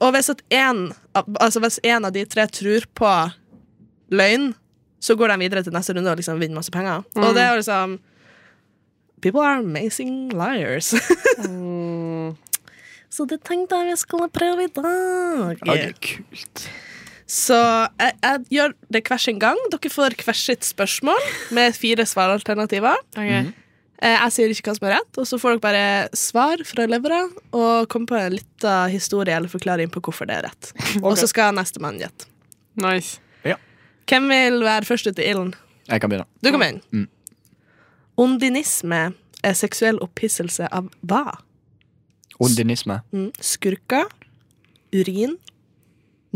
F: Og hvis at en, av- altså hvis en av de tre tror på løgn, så går de videre til neste runde og liksom vinner masse penger. Og det er
D: Mm.
F: jo liksom People are amazing liars.
D: Mm.
F: Så det tenkte jeg vi skulle prøve i dag.
D: Ja, det er kult.
F: Så jeg, jeg gjør det hver sin gang. Dere får hvert sitt spørsmål med fire svaralternativer.
G: Ok.
F: Eh, Jeg sier ikke hva som er rett, og så får dere bare svar fra levra og komme på en liten historie eller forklaring på hvorfor det er rett. Og så skal nestemann gjette.
G: Nice.
F: Hvem vil være først ut i ilden?
D: Jeg kan begynne.
F: Du kommer inn. Ondinisme er seksuell opphisselse av hva?
D: Ondinisme.
F: Mm. Skurker, urin,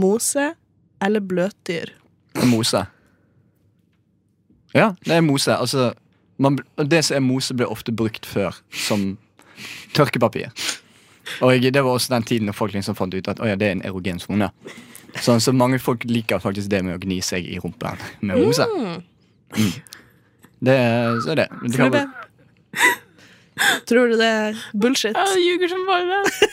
F: mose eller bløtdyr?
D: Mose. Ja, det er mose. Altså, man, det som er mose, ble ofte brukt før som tørkepapir. Og jeg, det var også den tiden når folk liksom fant ut at «Å ja, det er en erogen sone. Sånn, så mange folk liker faktisk det med å gni seg i rumpen med mose. Mm. Det er så er det. Du kan-
F: Frode. Tror du det er bullshit?
G: Jeg ljuger som bare det.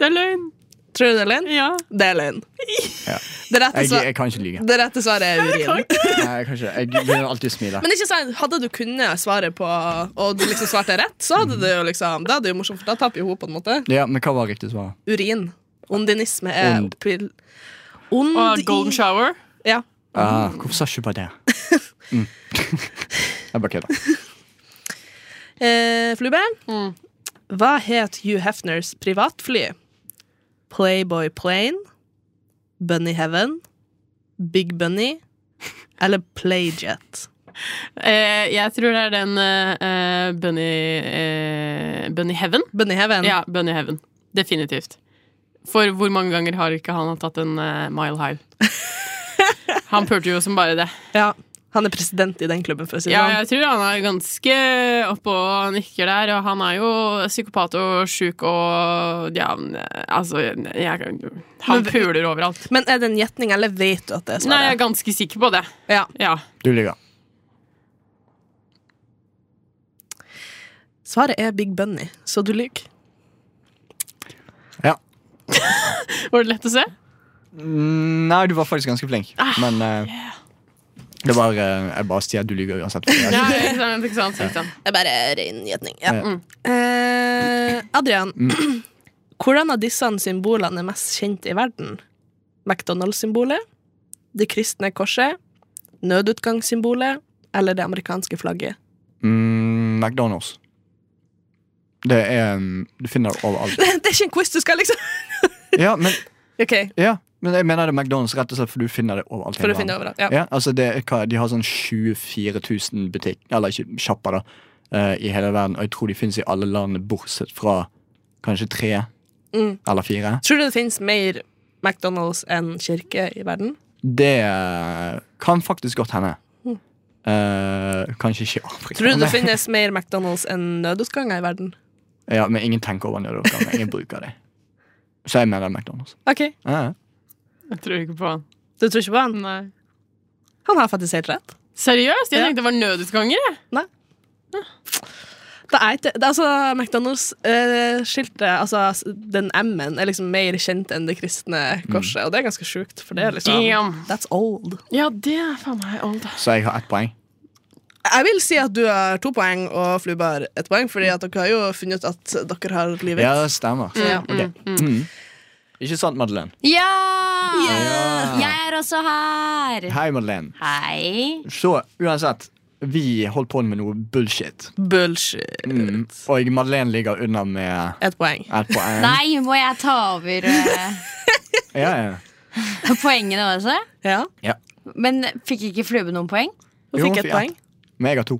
G: Det er løgn.
F: Tror du det er løgn?
G: Ja.
F: Det er løgn.
D: Ja.
F: Det rette,
D: jeg,
F: svar,
D: jeg kan ikke lyve.
F: det rette svaret er urin.
D: Nei, jeg kan ikke. Jeg begynner alltid å smile.
F: Men ikke sant, hadde du kunnet svaret på og du liksom svarte rett, så hadde det jo liksom Da er det jo morsomt, for da taper jo hun på en måte.
D: Ja, men hva var riktig svar?
F: Urin. Ondinisme er
D: Ond.
F: oppil... Ond
G: Og golden
F: i
G: shower.
F: Ja.
D: Ah, hvorfor sa ikke du bare det? Mm. jeg bare kødder.
F: Eh, Flube,
G: Mm.
F: hva het Hugh Hefners privatfly? Playboy Plane, Bunny Heaven, Big Bunny eller Playjet?
G: Eh, jeg tror det er den eh, eh, Bunny eh, Bunny Heaven.
F: Bunny Heaven.
G: Ja, Bunny Heaven. Definitivt. For hvor mange ganger har ikke han tatt en eh, mile high? Han pulte jo som bare det.
F: Ja, Han er president i den klubben, for å si det
G: Ja,
F: sånn.
G: jeg tror han er ganske oppå og nikker der, og han er jo psykopat og sjuk og Ja, altså jeg, Han puler overalt.
F: Men er det en gjetning, eller vet du at det er
G: Nei, jeg
F: svaret?
G: er ganske sikker på det.
F: ja.
G: Ja.
D: Du lyver.
F: Svaret er Big Bunny, så du lyver.
D: Ja.
G: Var det lett å se?
D: Mm, Nei, du var faktisk ganske flink.
F: Ah,
D: Men eh, det var eh, Jeg bare sier at du lyver uansett. for jeg-
G: Ja, ikke sant, ikke sant, ikke sant.
F: Det er bare ren gjetning. Ja.
D: Ja. Mm.
F: Eh, Adrian, hvordan av disse symbolene er mest kjent i verden? McDonald's-symbolet, det kristne korset, nødutgangssymbolet eller det amerikanske flagget?
D: Mm, McDonald's. Det er mm, Du finner det overalt.
F: det er ikke en quiz du skal, liksom!
D: Ja, men,
F: Ok,
D: ja, men jeg mener det er McDonald's rett og slett, for du finner det overalt. i
F: For å
D: hele
F: finne
D: verden.
F: overalt.
D: Ja,
F: Ja.
D: altså det, er hva, de har sånn 24 000 butikk, eller ikke sjapper, da, eh, i hele verden. Og jeg tror de finnes i alle land bortsett fra kanskje tre
F: Mm.
D: eller fire.
F: Tror du det finnes mer McDonald's enn kirke i verden?
D: Det kan faktisk godt hende. Eh, kanskje ikke i Afrika.
F: Mm. Tror du det
D: men-
F: finnes mer McDonald's enn nødutganger i verden?
D: Ja, men ingen tenker over nødoppgaven. Ingen bruker det. Så jeg mener McDonald's.
F: Ok,
D: Ja, ja.
G: Jeg tror ikke på han.
F: Du tror ikke på han?
G: Nei.
F: Han har faktisk helt rett.
G: Seriøst? Jeg
F: Ja.
G: tenkte det var nødutganger. jeg.
F: Det er ikke, det, er altså McDonald's-skiltet, altså s- den M-en, er liksom mer kjent enn det kristne
D: Mm.
F: korset. Og det er ganske sjukt, for det er liksom
G: Damn.
F: That's old.
G: Ja, det er faen meg old.
D: Så jeg har ett poeng.
F: Jeg vil si at du har to poeng og Flubar ett poeng, fordi at dere har jo funnet ut at dere har livet.
D: Ja, det stemmer.
F: Ja.
D: Ok. Mm. Ikke sant, Madeleine?
A: Ja!
D: Ja.
A: Jeg er også her!
D: Hei, Madeleine.
A: Hei.
D: Så uansett, vi holdt på med noe bullshit.
F: Bullshit.
D: Mm. Og Madeleine ligger under med
F: Ett poeng.
D: ett poeng.
A: Nei, må jeg ta over eh,
D: Ja, ja.
A: poengene også?
F: Ja,
A: Men fikk ikke Flube noen poeng?
F: du
D: Jo,
F: fikk
D: fikk
F: ett poeng.
D: Men jeg har to.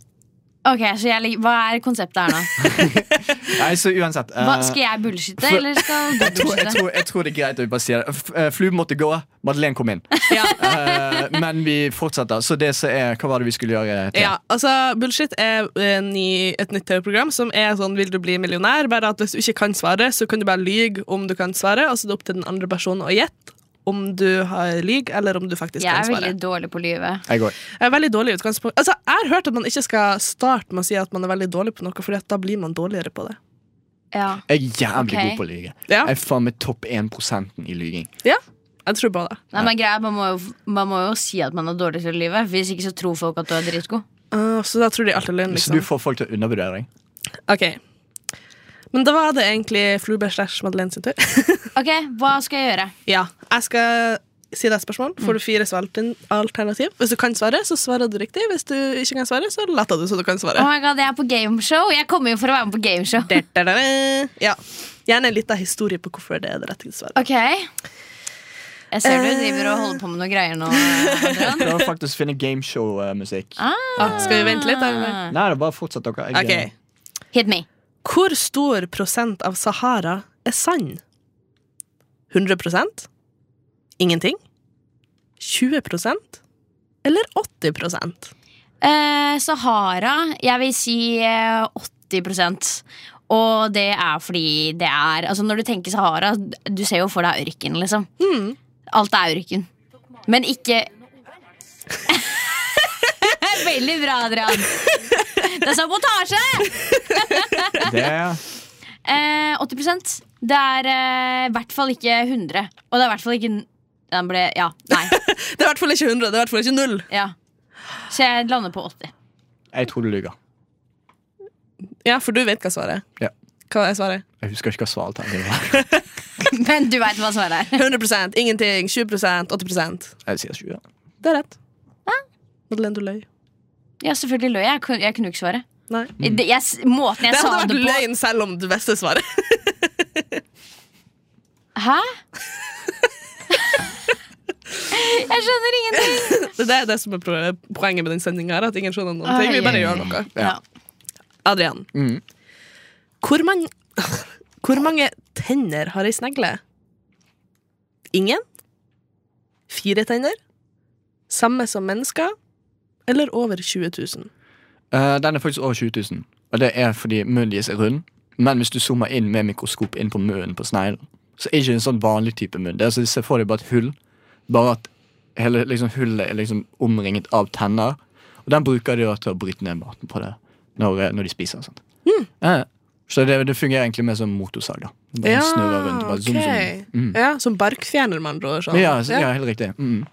A: Ok, så jeg, ligger- Hva er konseptet her
D: Eh,
A: nå?
D: Nei, så uansett eh,
A: Hva, skal jeg bullshitte, eller skal du
D: jeg, tror, jeg,
A: bullshitte?
D: tror, jeg tror det er greit å bare si det. F- eh, Flue måtte gå, Madeleine kom inn. Eh, men vi fortsetter. Så det som er Hva var det vi skulle gjøre? Thea?
F: Ja, altså Bullshit er eh, ny, et nytt TV-program som er sånn 'Vil du bli millionær?' Bare at hvis du ikke kan svare, så kan du bare lyge om du kan svare, og så er det opp til den andre personen å gjette om du har lyg, eller om du faktisk
A: Jeg
F: kan
A: er
F: svare.
A: veldig dårlig på livet.
D: Jeg går.
F: Jeg er veldig dårlig i utgangspunkt. Altså, jeg har hørt at man ikke skal starte med å si at man er veldig dårlig på noe, for da blir man dårligere på det.
A: Ja.
D: Jeg er jævlig
A: Ok.
D: god på å lyge.
F: Ja.
D: Jeg er faen meg topp 1 i lyging.
F: Jeg tror på det.
A: Nei, men greia, er, man, må jo, man må jo si at man er dårlig til livet. Hvis ikke så tror folk at du er dritgod.
F: Ah, så da tror de alt er løgn,
D: Så du
F: liksom.
D: får folk til å undervurdere deg.
F: Ok. Men da var det egentlig Flubær slash Madeleine sin tur.
A: Ok, Hva skal jeg gjøre?
F: Ja, jeg skal si deg et spørsmål. Får du fire svalten- alternativ? Hvis du kan svare, så svarer du riktig. Hvis du ikke kan svare, så later du så du kan
A: Oh
F: svare.
A: my god, Jeg er på gameshow! Jeg kommer jo for å være med på gameshow.
F: Da-da-da. Ja. Gjerne en liten historie på hvorfor det er det rette svaret.
A: Ok Eh. Jeg ser du driver og holder på med noe greier nå. Adrian.
D: Prøver faktisk å finne gameshow-musikk.
F: Ah, skal vi vente litt? Eller?
A: Ah,
D: Eh, Nei, det er bare fortsett dere. Jeg, eh,
F: Ok.
A: Hit me.
F: Hvor stor prosent av Sahara er sand? 100 Ingenting? 20 Eller 80
A: Eh, Sahara, jeg vil si eh, 80 og det er fordi det er Altså Når du tenker Sahara, du ser jo for deg ørken, liksom. Alt er ørken. Men ikke Veldig bra, Adrian. Det er sabotasje!
D: det,
A: Eh, 80 Det er eh, i hvert fall ikke 100. Og det er i hvert fall ikke Den ble Ja. Nei.
F: Det er i hvert fall ikke 100, det er i hvert fall ikke null.
A: Ja. Så jeg lander på 80.
D: jeg tror du lyver.
F: Ja, for du vet hva svaret er.
D: Ja.
F: Hva er svaret?
D: Jeg husker ikke hva svaralternativet var.
A: Men du veit hva svaret er.
F: 100 ingenting, 20 80
D: Jeg sier 20.
F: Det er rett. Madeleine, du løy.
A: Ja, selvfølgelig løy jeg. jeg. kun- Jeg kunne jo ikke svare.
F: Nei.
A: Det, jeg, s- måten jeg
F: Mm. Det
A: sa
F: hadde
A: det
F: vært
A: på
F: løgn selv om du visste svaret.
A: Hæ? jeg skjønner ingenting.
F: Det er det- det som er pro- poenget med den sendinga her, at ingen skjønner noen
A: Ai,
F: ting. Vi bare
A: ai,
F: gjør
A: ai.
F: noe.
A: Ja.
F: Adrian,
D: Mm.
F: hvor, man, hvor mange tenner har ei snegle? Ingen? Fire tenner? Samme som mennesker? Eller over 20 000?
D: Eh, den er faktisk over 20 000. Og det er fordi munnen deres er rund. Men hvis du zoomer inn med mikroskop inn på munnen på sneglen, så er det ikke en sånn vanlig type munn. Det er altså, Se for deg bare et hull. Bare at hele liksom, hullet er liksom omringet av tenner. Og den bruker de jo til å bryte ned maten på det når, eh, når de spiser. og Sånt. Eh, så det, det fungerer egentlig mer som motorsag. da Bare snurrer rundt. Bare zoom, zoom. Mm.
F: ja, som barkfjerner, med andre ord. sånn.
D: Ja, så, ja, helt riktig. Mm.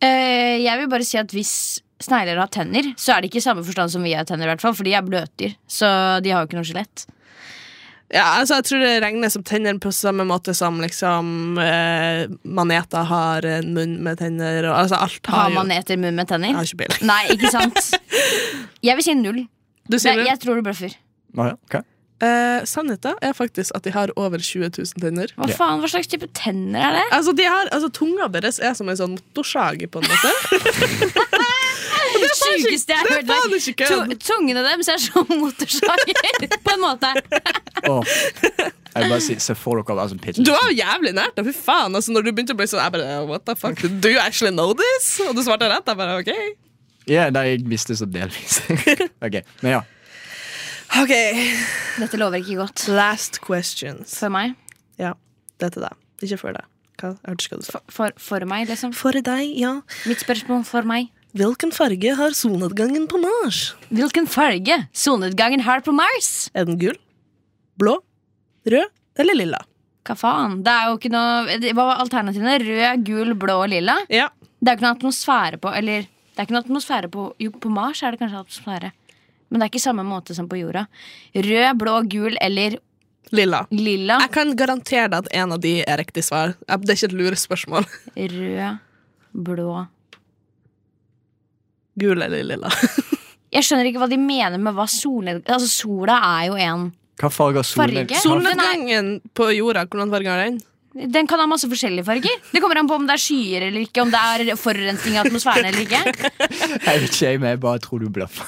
A: Eh, jeg vil bare si at hvis snegler har tenner, så er det ikke i samme forstand som vi har tenner. i hvert fall For de er bløtdyr, så de har jo ikke noe skjelett.
F: Ja, altså jeg tror det regnes som tenner på samme måte som liksom eh, maneter har en munn med tenner og altså alt har,
A: Har man
F: jo Ah,
A: eter munn med
F: Jeg
A: tenner?
F: har ikke peiling.
A: Nei, ikke sant? Jeg vil si null.
F: Du sier
A: Det-
F: det?
A: Jeg tror du bløffer.
D: Ah, ja, ok.
F: Eh, sannheten er faktisk at de har over 20 000 tenner.
A: Hva
D: Ja.
A: faen, hva slags type tenner er det?
F: Altså, de har, altså Tunga deres er som en sånn motorsag, på en måte.
A: Det sjukeste jeg har hørt.
F: faen
A: like,
F: ikke kødd.
A: tu- Tungene deres er som motorsager, på en måte.
D: Åh. Jeg vil bare si, se for dere å være som Pitch.
F: Du var jo jævlig nært. da, Fy faen. altså Når du begynte å bli sånn, jeg bare What the fuck? Do you actually know this? Og du svarte rett. Jeg bare OK.
D: Ja, nei, jeg visste så delvis. ok, Men ja.
F: Ok,
A: Dette lover ikke godt.
F: Last questions.
A: For meg?
F: Ja, det er til deg. Ikke før deg. Hva? Jeg hørte ikke hva du sa.
A: For, for meg, liksom?
F: For deg, ja.
A: Mitt spørsmål for meg.
F: Hvilken farge har solnedgangen på Mars?
A: Hvilken farge solnedgangen har på Mars?
F: Er den gul, blå, rød eller lilla?
A: Hva faen? Det er jo ikke noe det- Hva var alternativene? Rød, gul, blå og lilla?
F: Ja.
A: Det er jo ikke noe atmosfære på Eller det er ikke noe atmosfære på Jo, på Mars er det kanskje atmosfære. Men det er ikke samme måte som på jorda. Rød, blå, gul eller
F: Lilla.
A: lilla.
F: Jeg kan garantere deg at en av de er riktig svar. Jeg- Det er ikke et lurespørsmål.
A: Rød, blå
F: Gul eller lilla?
A: Jeg skjønner ikke hva de mener med hva solnedgang Altså, sola er jo en
D: Hva farge har solen?
A: Farge?
D: Sol-
F: Solnedgangen på jorda, hvordan farge har den?
A: Den kan ha masse forskjellige farger. Det kommer an på om det er skyer eller ikke, om det er forurensning i atmosfæren eller ikke.
D: Jeg vet ikke, jeg, men jeg bare tror du bløffer.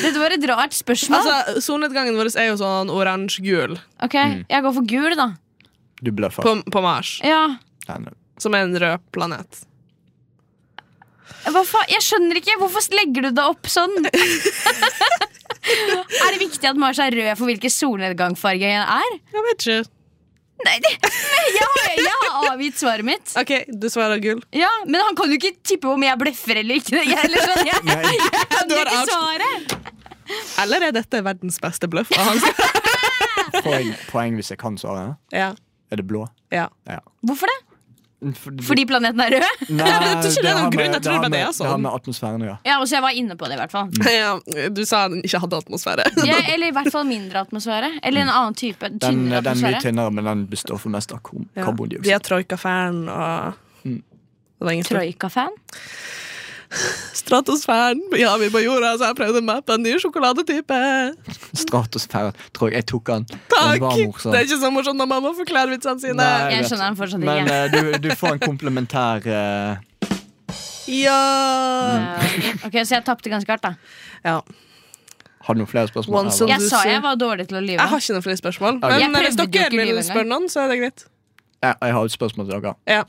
A: Dette var et rart spørsmål.
F: Altså, Solnedgangen vår er jo sånn oransje-gul
A: Ok, Jeg går for gul, da.
D: Du bløffer.
F: på, på Mars,
A: Ja.
D: Nei, nei.
F: som er en rød planet.
A: Hva faen? Jeg skjønner ikke. Hvorfor legger du det opp sånn? er det viktig at Mars er rød for hvilken solnedgangsfarge han er?
F: Jeg vet ikke.
A: Nei, det, men jeg, har, jeg har avgitt svaret mitt.
F: OK, du svarer gull.
A: Ja, Men han kan jo ikke tippe om jeg bløffer eller ikke. Jeg, eller sånn, jeg, jeg, kan
F: Du
A: jo
F: har
A: ikke
F: avs-
A: svare.
F: Eller er dette verdens beste bløff? av hans?
D: Poeng, poeng hvis jeg kan svare.
F: ja.
D: Er det blå?
F: ja.
D: Ja.
A: Hvorfor det?
D: For-
A: Fordi planeten er rød?
D: Nei,
F: Jeg tror ikke det er
D: har
F: noen
D: med-
F: grunn, jeg tror
D: har
F: bare det
D: med-
F: er sånn.
D: Det har med atmosfæren å gjøre.
A: Ja, og så jeg var inne på det i hvert fall.
F: ja. Du sa den ikke hadde atmosfære.
A: Ja, eller i hvert fall mindre atmosfære. Eller en annen type.
D: Den, den
A: Tynnere
D: er mye
A: atmosfære.
D: tynnere, men den består for mest av kom-
F: Ja.
D: karbondioksid.
F: Vi er troika-fan og
D: Mm.
F: det var ingen stor-
A: Troika-fan?
F: Stratosfæren. Ja, vi på jorda, så jeg prøvde å mappe en ny sjokoladetype.
D: Stratosfæren. Tror jeg jeg tok den. Den
F: Takk!
D: var morsom.
F: Det er ikke så morsomt når mamma forklarer vitsene sine.
D: Nei,
A: Jeg
D: vet.
A: skjønner den fortsatt
D: Men
A: ikke.
D: eh, du, du får en komplementær eh, Mm.
F: Ja.
A: Ok, Så jeg tapte ganske hardt, da.
F: ja.
D: Har du noen flere spørsmål?
F: One
D: her,
F: song.
D: eller?
A: Jeg sa jeg var dårlig til å lyve.
F: Jeg har ikke noen flere spørsmål.
D: Ok.
A: Jeg
F: Men hvis
A: prøvde jo
F: dere
A: ikke
F: vil
A: livet
F: spørre noen, så er det greit.
D: Jeg, jeg har et spørsmål til dere.
F: Ja.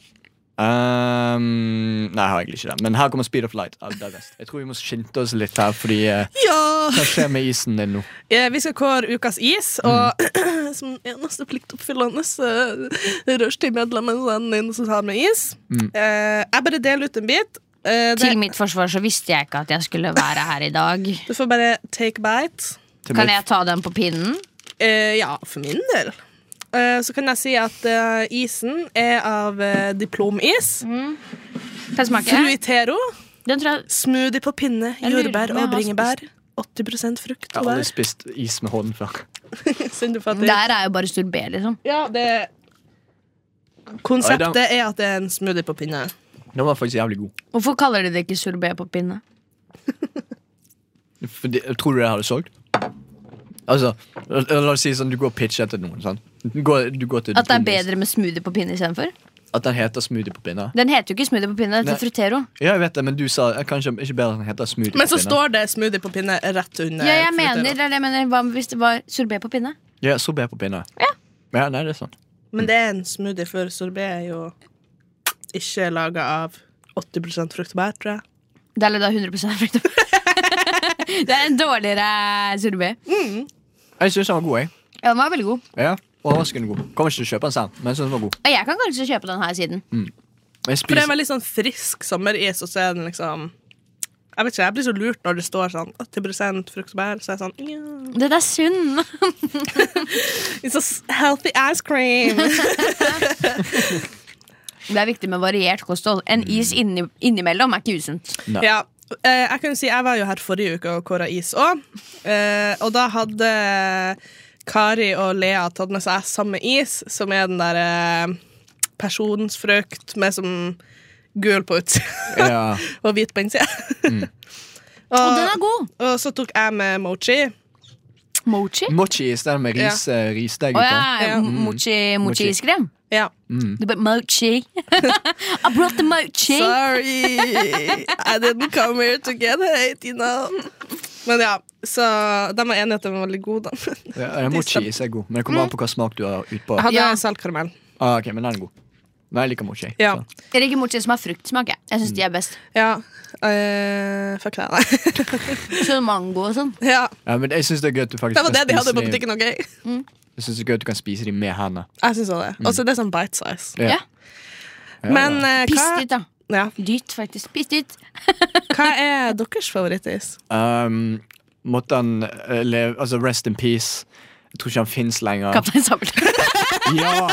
D: Ehm, nei, jeg har egentlig ikke det. Men her kommer Speed of Light. av Divest. Jeg tror vi må skynde oss litt her, fordi eh, Hva skjer med isen din nå?
F: Eh, Vi skal kåre ukas is, og
D: Mm.
F: som eneste pliktoppfyllende eh, rushtidmedlemmen sender inn som har med is.
D: Mm.
F: Eh, jeg bare deler ut en bit. Eh, det,
A: Til mitt forsvar så visste jeg ikke at jeg skulle være her i dag.
F: du får bare take bite.
D: Til
A: Kan
D: mitt-
A: jeg ta den på pinnen?
F: Eh, ja, for min del. Eh, så kan jeg si at eh, isen er av eh, diplomis.
A: Mm. Kan jeg smake?
F: Fruitero.
A: Den tror jeg
F: Smoothie på pinne,
A: Jeg lurer
F: jordbær
A: på om jeg
F: og
A: har
F: bringebær. 80 frukt
D: Jeg
F: og
D: har aldri
F: bær.
D: spist is med hånden før.
F: Synd du fatter.
A: Der er jo bare stor B, liksom.
F: Ja, det Konseptet er at det er en smoothie på pinne.
D: Den var faktisk jævlig god.
A: Hvorfor kaller de det ikke sorbé på pinne?
D: Fordi, tror du det hadde solgt? Altså, la, la oss si sånn, du går og pitcher etter noen. Sant? Du går, du går til
A: At det er
D: Diplomis.
A: bedre med smoothie på pinne istedenfor?
D: At den heter smoothie på pinne.
A: Den heter jo ikke smoothie på pinne, den
D: Nei.
A: heter frutero.
D: Ja, jeg vet det, men du sa eh, kanskje ikke bedre at den heter smoothie
F: Men
D: på
F: så
D: pinne.
F: står det smoothie på pinne rett under.
A: Ja, jeg
F: Fruitero.
A: mener, det er det jeg mener. Hva hvis det var sorbé på pinne?
D: Ja, sorbet på pinne.
A: Ja.
D: Ja, nei, det er sant.
F: Men det er en smoothie, for sorbé er jo ikke laga av 80 frukt og bær, tror jeg.
A: Det er litt av 100 frukt. det er en dårligere sorbé.
D: Jeg syns den var god, jeg.
A: Ja, den var veldig god.
D: Ja, Overraskende god. Kommer ikke til å kjøpe den selv, men jeg synes den var god.
A: Og jeg kan kanskje kjøpe den her siden.
D: Jeg
F: For det er
D: spiser,
F: veldig sånn frisk sommeris, og så er den liksom Jeg vet ikke, jeg blir så lurt når det står sånn 80 frukt og bær, så er jeg sånn ja.
A: Den er sunn.
F: It's a s- healthy ice cream.
A: Det er viktig med variert kosthold. En is inni, innimellom er ikke usunt.
F: ja. Eh, jeg kan jo si, jeg var jo her forrige uke og kåra is òg, eh, og da hadde Kari og Lea tatt med seg samme is, som er den derre eh, personsfrukt med som gul på utsida.
D: ja,
F: og hvit på innsida.
A: Og den
F: Mm. og,
A: er god.
F: og så tok jeg med mochi.
A: Mochi.
D: Mochi i stedet med ris, eh, risdeig
A: Å
D: utpå.
A: ja,
F: Ja.
A: mochi, mochi Mm.
D: Mochi.
A: iskrem.
F: Ja.
A: Du bare mochi. I brought the mochi.
F: Sorry, I didn't come here to get hate, you know. Men ja, så de var enige at den var veldig god, da.
D: Ja, ja, mochi is er god, men det kommer
F: Mm.
D: an på hva smak du har utpå.
F: Jeg hadde
A: Ja.
F: saltkaramell.
D: Ah, ok, men den er god. Nei, jeg liker mochi.
F: Ja.
D: så.
A: Jeg liker mochi som har fruktsmak. Jeg, jeg syns de er best.
F: Ja. eh, fuck det, nei.
A: Sånn mango og sånn.
F: ja.
D: Ja, men jeg syns det er gøy at du faktisk
F: Det var det
D: kan
F: de hadde
D: spise
F: på
D: de-
F: butikken, OK?
D: Jeg synes det er gøy at du kan spise de med hendene.
F: Jeg syns
D: Mm.
F: også det. Og så er det sånn bite size.
A: Ja.
F: Men eh, hva,
A: Pissdyrt, da.
F: ja.
A: Dyrt, faktisk. Pissdyrt.
F: hva er deres favorittis?
D: Um, måtte han eh, leve Altså, rest in peace. Jeg tror ikke han fins lenger.
A: Kaptein Sabeltann.
D: Ja!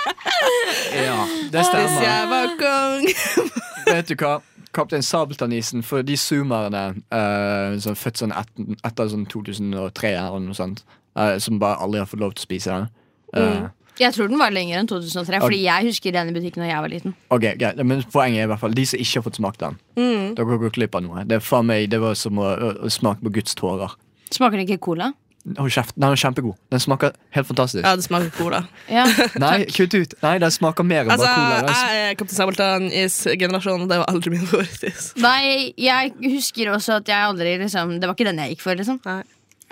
D: ja, det
F: Hvis
D: stemmer.
F: jeg var kong
D: Vet du hva? Kaptein Sabeltann-isen for de zoomerne eh, som er født sånn etter, etter sånn 2003 eller noe sånt, eh, som bare aldri har fått lov til å spise den. Eh,
F: Mm.
A: Jeg tror den var lenger enn 2003, fordi jeg husker den i butikken da jeg var liten.
D: Ok, greit, men Poenget er i hvert fall de som ikke har fått smakt den.
F: Mm.
D: Dere går glipp av noe. Det er faen meg, det var som å, å, å smake på Guds tårer.
A: Smaker den ikke cola?
D: Hold kjeft. Den er kjempegod. Den smaker helt fantastisk.
F: Ja, det smaker cola.
A: Ja.
D: Nei, kutt ut. Nei, den smaker mer enn
F: Altså,
D: bare cola. Altså.
F: jeg er Kaptein Sabeltann-is-generasjonen, og det var aldri min favorittis.
A: Nei, jeg husker også at jeg aldri liksom Det var ikke den jeg gikk for, liksom.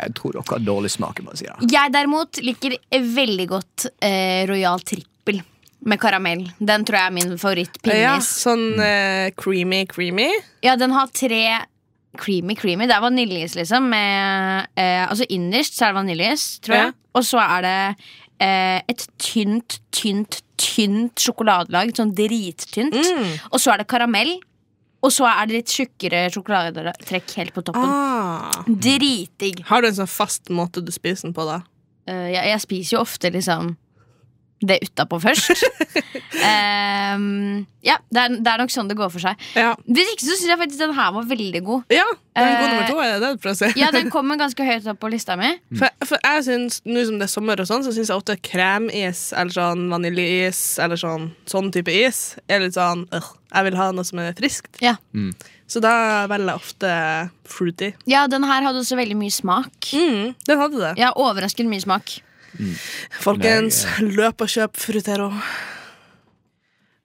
D: Jeg tror dere har dårlig smak. jeg Bare sier det.
A: Jeg derimot liker veldig godt eh, Royal Trippel med karamell. Den tror jeg er min favoritt.
F: Ja,
A: Pinnis.
F: sånn eh, creamy, creamy.
A: Ja, den har tre creamy creamy. Det er vaniljeis, liksom. Med, eh, altså innerst så er det vaniljeis, tror jeg.
F: Ja.
A: Og så er det eh, et tynt, tynt, tynt sjokoladelag. Sånn drittynt.
F: Mm.
A: Og så er det karamell. Og så er det litt tjukkere sjokoladetrekk helt på toppen.
F: Ah.
A: Dritdigg.
F: Har du en sånn fast måte du spiser den på, da?
A: Eh, jeg, jeg spiser jo ofte liksom det utapå først. Ehm, ja, det er, det er nok sånn det går for seg.
F: Ja,
A: Hvis ikke så syns jeg faktisk den her var veldig god.
F: ja den er god
A: Eh,
F: nummer to, er det det du prøver å si?
A: Ja, den kommer ganske høyt opp på lista mi.
F: For, for jeg synes, Nå som det er sommer, og sånn, så syns jeg ofte kremis eller sånn vaniljeis eller sånn, sånn type is er litt sånn øh, Jeg vil ha noe som er friskt.
A: Ja.
F: Så da velger jeg ofte fruity.
A: ja, den her hadde også veldig mye smak.
F: Mm, den hadde det.
A: Ja, overraskende mye smak.
F: Folkens, løp og kjøp Frutero.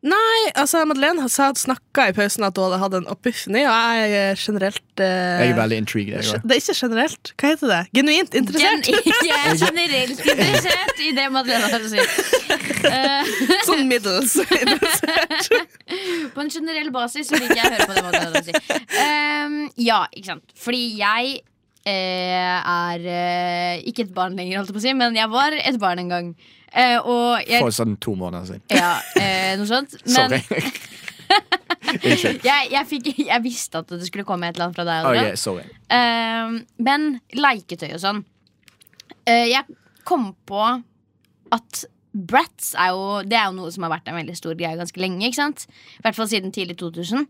F: Nei, altså Madeleine sa at snakka i pausen at hun hadde hatt en epiphany, og jeg er generelt eh,
D: Jeg er veldig intrigued. Jeg, også.
F: Det er ikke generelt. Hva heter det? Genuint
A: Gen
F: interessert.
A: jeg er generelt interessert i det Madeleine har å si. Eh,
F: Sånn middels.
A: på en generell basis så liker jeg å høre på det Madeleine har å si. Ehm, ja, ikke sant. Fordi jeg eh, er eh, ikke et barn lenger, holdt jeg på å si, men jeg var et barn en gang. Eh, og jeg
D: For sånn to måneder siden.
A: Ja, eh, noe sånt. Men
D: Sorry. Unnskyld.
A: jeg, jeg, fikk, jeg visste at det skulle komme et eller annet fra deg. Adrian.
D: Ok, sorry.
A: Eh, men leketøy og sånn. Eh, jeg kom på at Bratz er jo, det er jo noe som har vært en veldig stor greie ganske lenge. ikke sant? I hvert fall siden tidlig 2000.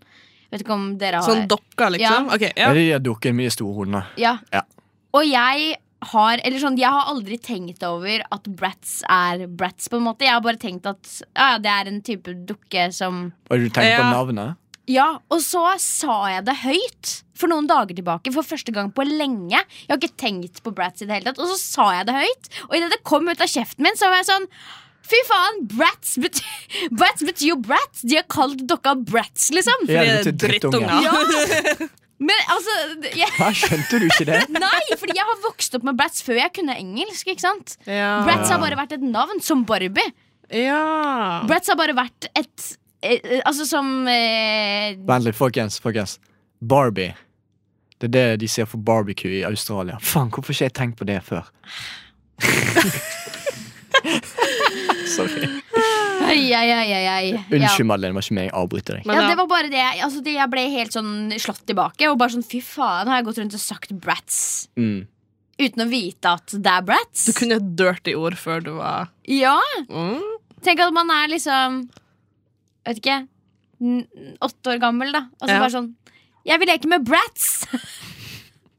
A: Vet ikke om dere har
F: Sånn dokka, liksom.
A: Ja.
F: Ok, ja.
D: Ja. De har dukket mye storhodene.
A: Ja.
D: Ja.
A: Og jeg har Eller sånn, jeg har aldri tenkt over at Bratz er Bratz, på en måte. Jeg har bare tenkt at ja, ja, det er en type dukke som
D: Og du tenker på
F: Ja.
D: navnet?
A: Ja, og så sa jeg det høyt for noen dager tilbake. For første gang på lenge. Jeg har ikke tenkt på Bratz i det hele tatt. Og så sa jeg det høyt, og idet det kom ut av kjeften min, så var jeg sånn Fy faen, Bratz, bet Bratz betyr jo Bratz! De har kalt dokka Bratz, liksom.
D: Ja, du
F: det er
D: til sånn drittunge.
F: drittunge.
A: Men altså jeg,
D: Hæ, skjønte du ikke det?
A: Nei, fordi jeg har vokst opp med Bratz før jeg kunne engelsk. ikke sant?
F: Ja.
A: Bratz har bare vært et navn, som Barbie.
F: Ja.
A: Bratz har bare vært et eh, eh, Altså som eh,
D: Vent litt, folkens. folkens. Barbie. Det er det de ser for barbecue i Australia. Faen, hvorfor har ikke jeg tenkt på det før? Sorry.
A: Ai, ai, ai, ai, ai. Ja.
D: Unnskyld, Madeleine. Det var ikke meg. Jeg avbryter deg.
F: Men
A: ja,
F: ja.
A: det var bare det. jeg- Altså, det jeg ble helt sånn slått tilbake. Og bare sånn, fy faen, har jeg gått rundt og sagt brats
D: Mm.
A: uten å vite at det er brats?
F: Du kunne et dirty ord før du var
A: Ja,
F: mm.
A: Tenk at man er liksom Vet ikke n- åtte år gammel, da. Og så
F: Ja.
A: bare sånn Jeg vil leke med brats!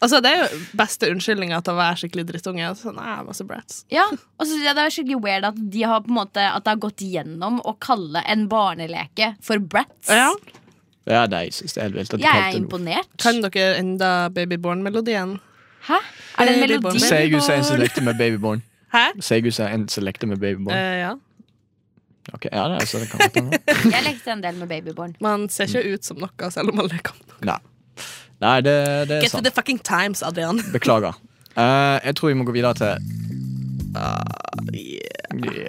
F: Altså, Det er jo beste unnskyldninga til å være skikkelig drittunge. Altså, nei, masse brats.
A: Ja, og så synes jeg Det er skikkelig weird at de har på en måte At det har gått gjennom å kalle en barneleke for brats.
F: Ja.
D: Ja, nei, jeg synes det er helt vilt. at du
A: Jeg
D: kalte
A: er
D: det noe.
A: imponert.
F: Kan dere enda Babyborn-melodien?
A: Hæ? Er det en
F: Baby
A: melodi?
F: bomber.
D: Sier Gud er en som lekte med babyborn.
F: Hæ?
D: Sier Gud er en som lekte med babyborn.
F: Eh, ja.
D: Ok, ja, det er, så det kan være.
A: Jeg lekte en del med Babyborn.
F: Man ser ikke ut som noe selv om man leker om noe.
D: Nei, nei det, det er
F: Get to
D: sant.
F: the fucking times, Adrian.
D: Beklager. Eh, jeg tror vi må gå videre til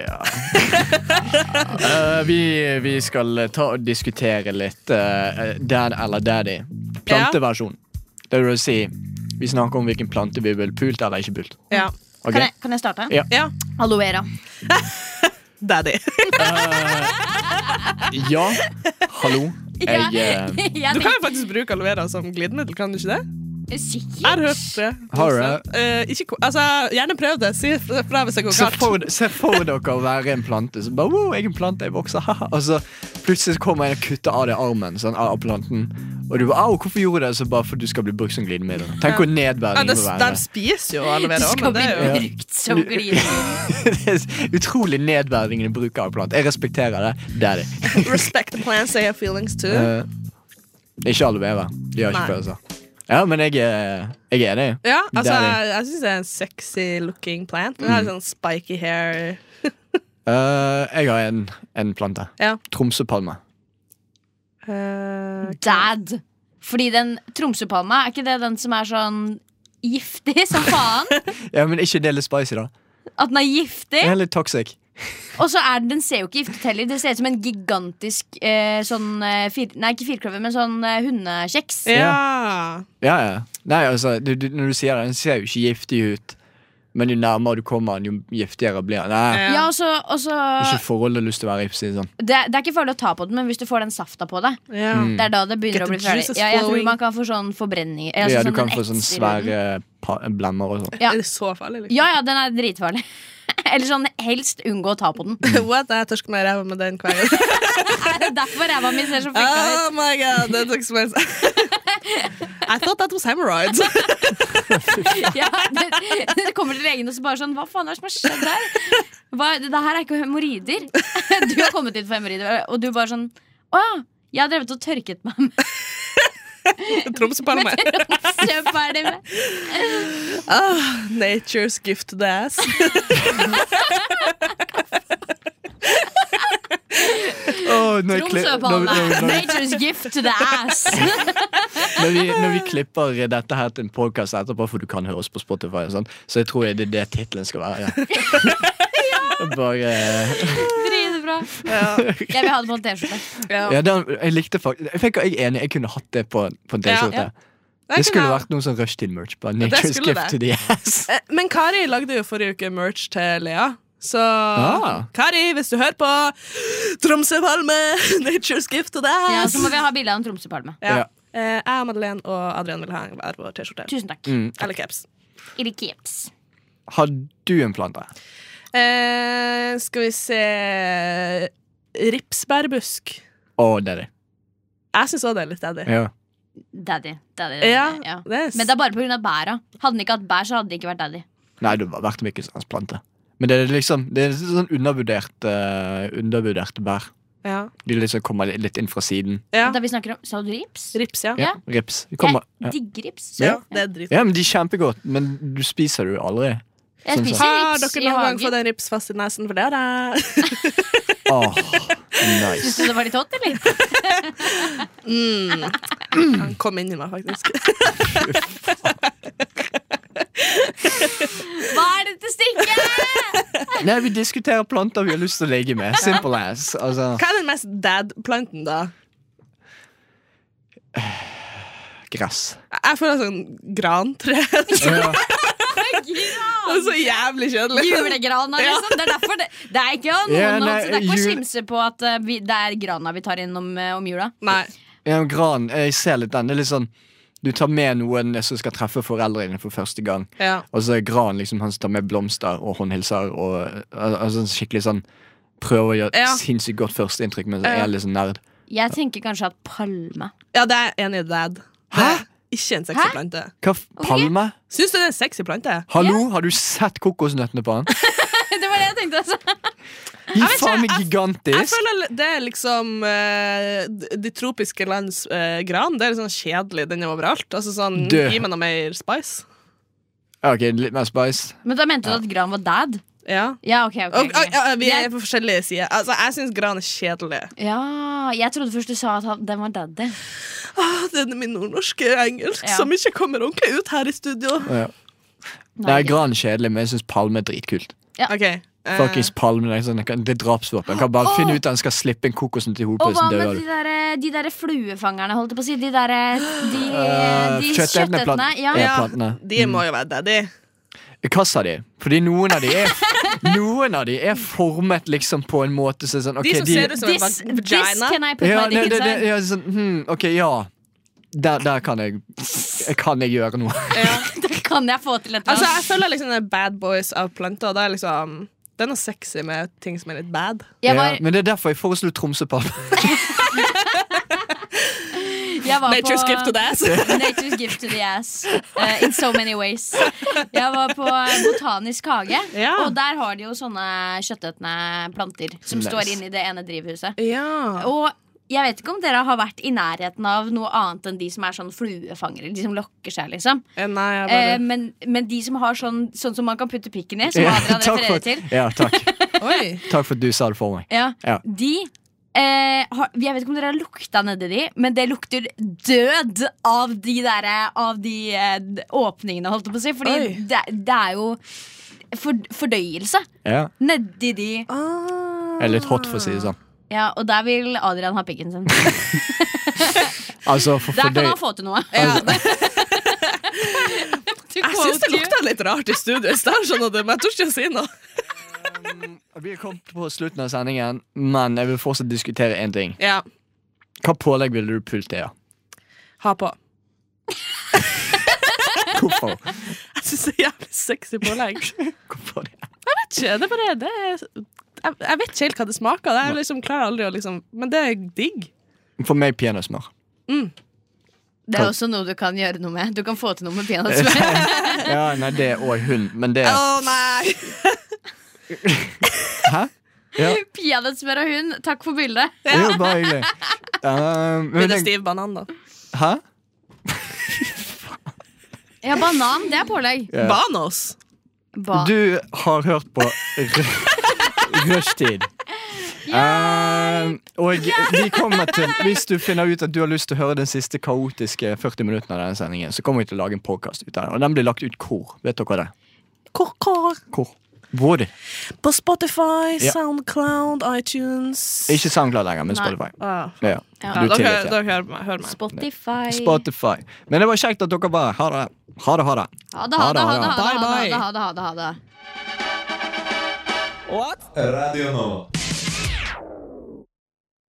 D: Ja. Eh, vi, vi skal ta og diskutere litt eh, Dad eller Daddy. Planteversjon. Det vil si, vi snakker om hvilken plante vi vil pult eller ikke pult.
F: Ja.
D: Ok?
A: Kan, jeg, kan jeg starte?
D: Ja.
F: ja.
A: Aloe vera.
F: Daddy.
D: Eh, Ja. Hallo. Jeg eh,
A: Jeg
F: Du kan jo faktisk bruke aloe vera som glidemiddel, kan du ikke det?
A: tenkte
F: Jeg har
A: sikkert
F: hørt det.
D: Har du
F: Også. Eh, ikke, ko- altså, gjerne prøv det. Si fra hvis det går
D: Se
F: galt.
D: for, se for dere å være en plante. Så bare, wow, jeg er en plante, jeg vokser, haha. Og så plutselig kommer en og kutter av deg armen sånn, av planten. Og du bare, au, hvorfor gjorde du det? Så bare for at du skal bli brukt som glidemiddel. Tenk hvor
F: Ja,
D: nedverdig
F: det,
D: det må
F: de
D: være.
F: spiser jo aloe
A: det
F: vera òg,
A: skal
F: men det
A: bli
F: er jo
A: brukt som glidemiddel.
D: Det er utrolig nedverdigende bruk av plant. Jeg respekterer det. Det er det.
F: Respect the plants, they have feelings too.
D: Eh, ikke aloe vera. De har ikke
F: Nei.
D: følelser. Ja, men jeg, er- jeg er det. Mm.
F: Ja, altså,
D: Der, ja.
F: jeg, jeg syns det er en sexy looking plant. Den har sånn spiky hair.
D: Eh, jeg har en, en plante.
F: Ja.
D: Tromsøpalme.
F: Eh,
A: Dad. Fordi den Tromsøpalma, er ikke det den som er sånn giftig som faen?
D: Ja, men ikke det er litt spicy, da?
A: At den er giftig?
D: Det er litt toxic.
A: Og så er den, den ser jo ikke giftig ut heller. Det ser ut som en gigantisk eh, sånn eh, fir, Nei, ikke firkløver, men sånn eh, hundekjeks.
F: ja.
D: Ja, ja. Nei, altså, du, du, når du sier det, den ser jo ikke giftig ut. Men jo nærmere du kommer, den, jo giftigere blir den. Nei,
A: Ja, og så, og så
D: ikke forhold du har lyst til å være i. for å si det Sånn.
A: det, det er ikke farlig å ta på den, men hvis du får den safta på deg,
D: Mm.
F: ja.
A: det er da det
F: Get
A: begynner å
F: the
A: bli ferdig.
F: juices
A: Ja, jeg tror
F: flowing.
A: man kan få sånn forbrenning. Altså,
D: Ja, du
A: sånn
D: kan
A: den
D: få sånne
A: etser i den.
D: svære pa- blemmer og sånn.
A: Ja.
F: Er det så farlig, liksom?
A: Ja, ja, den er dritfarlig. Eller sånn helst unngå å ta på den.
F: What? Jeg tørsker meg i ræva med den hver gang.
A: Det er derfor ræva mi ser så
D: Ah,
A: fucka ut.
F: oh my god, det tok smells. I thought that was hemorrhoids.
A: Ja, det, det kommer til legen og så bare sånn Hva faen er det som har skjedd her? Hva, det her er ikke hemoroider. Du har kommet hit for hemoroider, og du bare sånn Å ja. Jeg har drevet og tørket meg med
F: Tromsøpalme.
A: søpæler.
F: Ah, nature's gift to the ass.
D: Oh, når, jeg kli- når,
A: Tromsøpalme.
D: når, når,
A: Nature's gift to the ass.
D: når, vi, når vi klipper dette her til en podkast etterpå, for du kan høre oss på Spotify, og sånn, så jeg tror det er det tittelen skal være. Bare
A: Dritbra. Jeg vil ha det på en T-skjorte.
D: Ja, den, jeg likte faktisk Jeg fikk- jeg er enig, jeg kunne hatt det på, på en T-skjorte.
F: Ja.
D: Det skulle vært noe sånn rushtid-merch. bare Nature's
F: skulle
D: gift to
F: det.
D: the ass.
F: Eh, Men Kari lagde jo forrige uke merch til Lea. Så
D: Ah.
F: Kari, hvis du hører på Tromsøpalme, nature's gift to the
A: Ja,
F: ass.
A: så må vi ha bilde av en Tromsøpalme.
F: Ja.
D: Ja.
F: Eh, jeg, Madeleine og Adrian vil ha en hver vår T-skjorte.
A: Tusen takk.
F: Eller caps.
A: Eller caps.
D: Har du en plante?
F: Eh, skal vi se Ripsbærbusk.
D: Å, det er det.
F: Jeg syns òg det er litt daddy.
D: Ja.
A: Daddy. daddy.
F: Ja,
A: ja.
F: det er s-
A: Men det er bare pga. bæra. Hadde den ikke hatt bær, så hadde det ikke vært daddy.
D: Nei, det har vært mye sånn plante. Men det er liksom Det er sånn undervurdert, eh, undervurderte bær.
F: Ja.
D: De liksom kommer li- litt inn fra siden.
F: ja.
A: Da vi snakker om Sa du rips?
F: Rips, ja.
A: Ja.
D: Rips. De kommer, ja.
A: Jeg digger rips.
D: Ja.
F: Det er drit.
D: ja, men de er kjempegodt, men du spiser det jo aldri.
A: Jeg
D: Sånn
A: spiser
F: Har
A: rips
F: dere
A: i
F: noen gang
A: hagen.
F: fått en rips fast i nesen for det? Da?
D: Åh,
A: Syns
D: nice.
A: du det var litt hot, eller?
F: Han kom inn i meg, faktisk.
A: Hva er dette stikket?
D: Nei, vi diskuterer planter vi har lyst til å ligge med. Simple ass. Altså,
F: Hva er den mest dad-planten, da?
D: gress.
F: Jeg føler sånn grantre.
D: Ja.
F: Det er så jævlig kjedelig.
A: Julegrana, liksom. Det er derfor det, det er ikke noen
D: Ja, nei,
A: altså, Det er ikke å
D: jul-
A: slimse på at eh, vi, det er grana vi tar innom eh, om jula.
F: Nei.
D: Ja, men gran, jeg ser litt den. Det er litt sånn Du tar med noen som skal treffe foreldrene for første gang.
F: Ja.
D: Og så er gran liksom han som tar med blomster og håndhilser og al- altså, skikkelig sånn Prøver å gjøre
F: Ja.
D: sinnssykt godt førsteinntrykk, men så er
F: Ja.
D: jeg litt sånn nerd.
A: Jeg tenker kanskje at palme.
F: ja, det er jeg enig i dad. Det er ikke en sexy
A: Hæ?
F: plante.
D: Hva f Palme?
F: Syns du det er en sexy plante?
D: Hallo, har du sett kokosnøttene på han?
A: Det var det jeg tenkte, altså.
D: De er
F: vet
D: faen meg
F: ikke, Jeg
D: gigantisk
F: føler det er liksom eh, d- de tropiske lands eh, gran. Det er litt sånn kjedelig. Den er overalt. Altså sånn,
D: Død.
F: Gi meg noe mer spice.
D: Ja, Ok, litt mer spice.
A: Men da mente du at gran var dad?
F: Ja.
A: Ja, ok. ok,
F: Og,
A: ok.
F: og, ja, vi er
A: Jeg-
F: på forskjellige sider. Altså, jeg syns gran er kjedelig.
A: ja, jeg trodde først du sa at han, den var daddy.
F: Ah, Det er min nordnorske engelsk
A: Ja.
F: som ikke kommer ordentlig ut her i studio.
D: Ja. Nei, gran er kjedelig, men jeg syns palme er dritkult.
F: Ok eh,
D: Fuckings palme, det er sånn- det er drapsvåpen. Jeg Kan bare
A: Åh!
D: finne ut at han skal slippe en kokosnøtt i sånn hodet,
A: Og hva
D: så
A: med
D: dør
A: de
D: du.
A: derre de der fluefangerne, holdt jeg på å si? De derre de,
D: Eh,
A: de
D: kjøttetende plant-
A: kjøttetene? Ja.
D: Ja.
F: ja,
D: plantene.
F: De må jo være daddy.
D: Hva sa de? Fordi noen av de er Noen av de er formet liksom på en måte som er sånn
F: De
D: ok,
F: som ser ut som en
A: This, this
F: vagina.
A: can I put
D: ja,
A: my
D: nei,
A: dick
D: det, det,
A: inside.
D: ja, sånn, hmm, Ok, ja der, der kan jeg Kan jeg gjøre noe
A: Det kan jeg få til et eller
F: Altså,
A: annet.
F: jeg føler liksom det er bad boys av planter. og Det er liksom Det er noe sexy med ting som er litt bad.
D: ja,
A: Jeg var,
D: Men det er derfor jeg foreslo Tromsøpalme
A: jeg var
F: Nature's gift to
A: på
F: the ass.
A: Nature's gift to the ass. eh, in so many ways. Jeg var på Botanisk hage,
F: Ja.
A: og der har de jo sånne kjøttetende planter som
D: Nice.
A: står inni det ene drivhuset.
F: Ja.
A: Og Jeg vet ikke om dere har vært i nærheten av noe annet enn de som er sånn fluefangere. De som lokker seg, liksom.
F: Eh, Nei, jeg
A: Eh,
F: bare
A: men, men de som har sånn, sånn som man kan putte pikken i, som Adrian
D: takk,
A: refererer til.
D: for, ja, takk.
F: Oi!
D: takk for at du sa det for meg.
A: Ja,
D: Ja.
A: De eh, har, Jeg vet ikke om dere har lukta nedi de, men det lukter død av de derre Av de eh, d- åpningene, holdt jeg på å si. Fordi
F: Oi.
A: det, det er jo for, fordøyelse
D: Ja.
A: nedi de. Ah.
D: Jeg er litt hot, for å si det sånn.
A: Ja, Og der vil Adrian ha pikken sin.
D: Altså, for,
A: Der
D: for
A: kan
D: døy...
A: han få til noe.
F: Jeg syns det lukta litt rart i studio i stad, skjønner du, men jeg tør ikke å si noe.
D: Mm, Vi er kommet på slutten av sendingen, men jeg vil fortsatt diskutere én ting.
F: Ja,
D: Hva pålegg ville du pult til? Ja?
F: ha på.
D: Hvorfor?
F: Jeg syns det er jævlig sexy pålegg.
D: Hvorfor det?
F: Ikke, det er bare det er, jeg, jeg vet ikke helt hva det smaker. Det er liksom, klarer aldri å liksom Men det er digg.
D: For meg peanøttsmør.
A: Det er også noe du kan gjøre noe med. Du kan få til noe med peanøttsmør.
D: Ja, nei, det og hund, men det
F: Å nei!
D: Hæ? Ja,
A: Peanøttsmør og hund, takk for bildet.
D: det er jo bare hyggelig. Um, men
F: Blir det
D: jeg-
F: stiv banan, da?
D: Hæ?
A: Ja, banan, det er pålegg.
D: Ja.
F: Banos!
A: Ba
D: Du har hørt på Ru- Rushtid. Um, og vi kommer til Hvis du finner ut at du har lyst til å høre den siste kaotiske 40 minuttene av denne sendingen, så kommer vi til å lage en podkast ut av den. Og den blir lagt ut hvor? Vet dere det?
F: Ko-ko.
D: Hvor? Hvor?
F: På Spotify,
D: Ja.
F: Soundcloud, iTunes
D: Ikke SoundCloud lenger, men
A: Nei.
D: Spotify.
F: ah.
D: Ja,
A: Ja,
F: Ja,
D: du
F: dere,
D: tillit, ja.
F: dere hører meg. Hør meg.
A: Spotify.
D: Spotify. Men det var kjekt at dere var her. Ha det, ha det. Ha det.
A: Ha det, ha det, ha det. ha det, ha det,
D: Bye, bye.
A: ha det, ha det, ha det, ha det.
C: Radio Nova.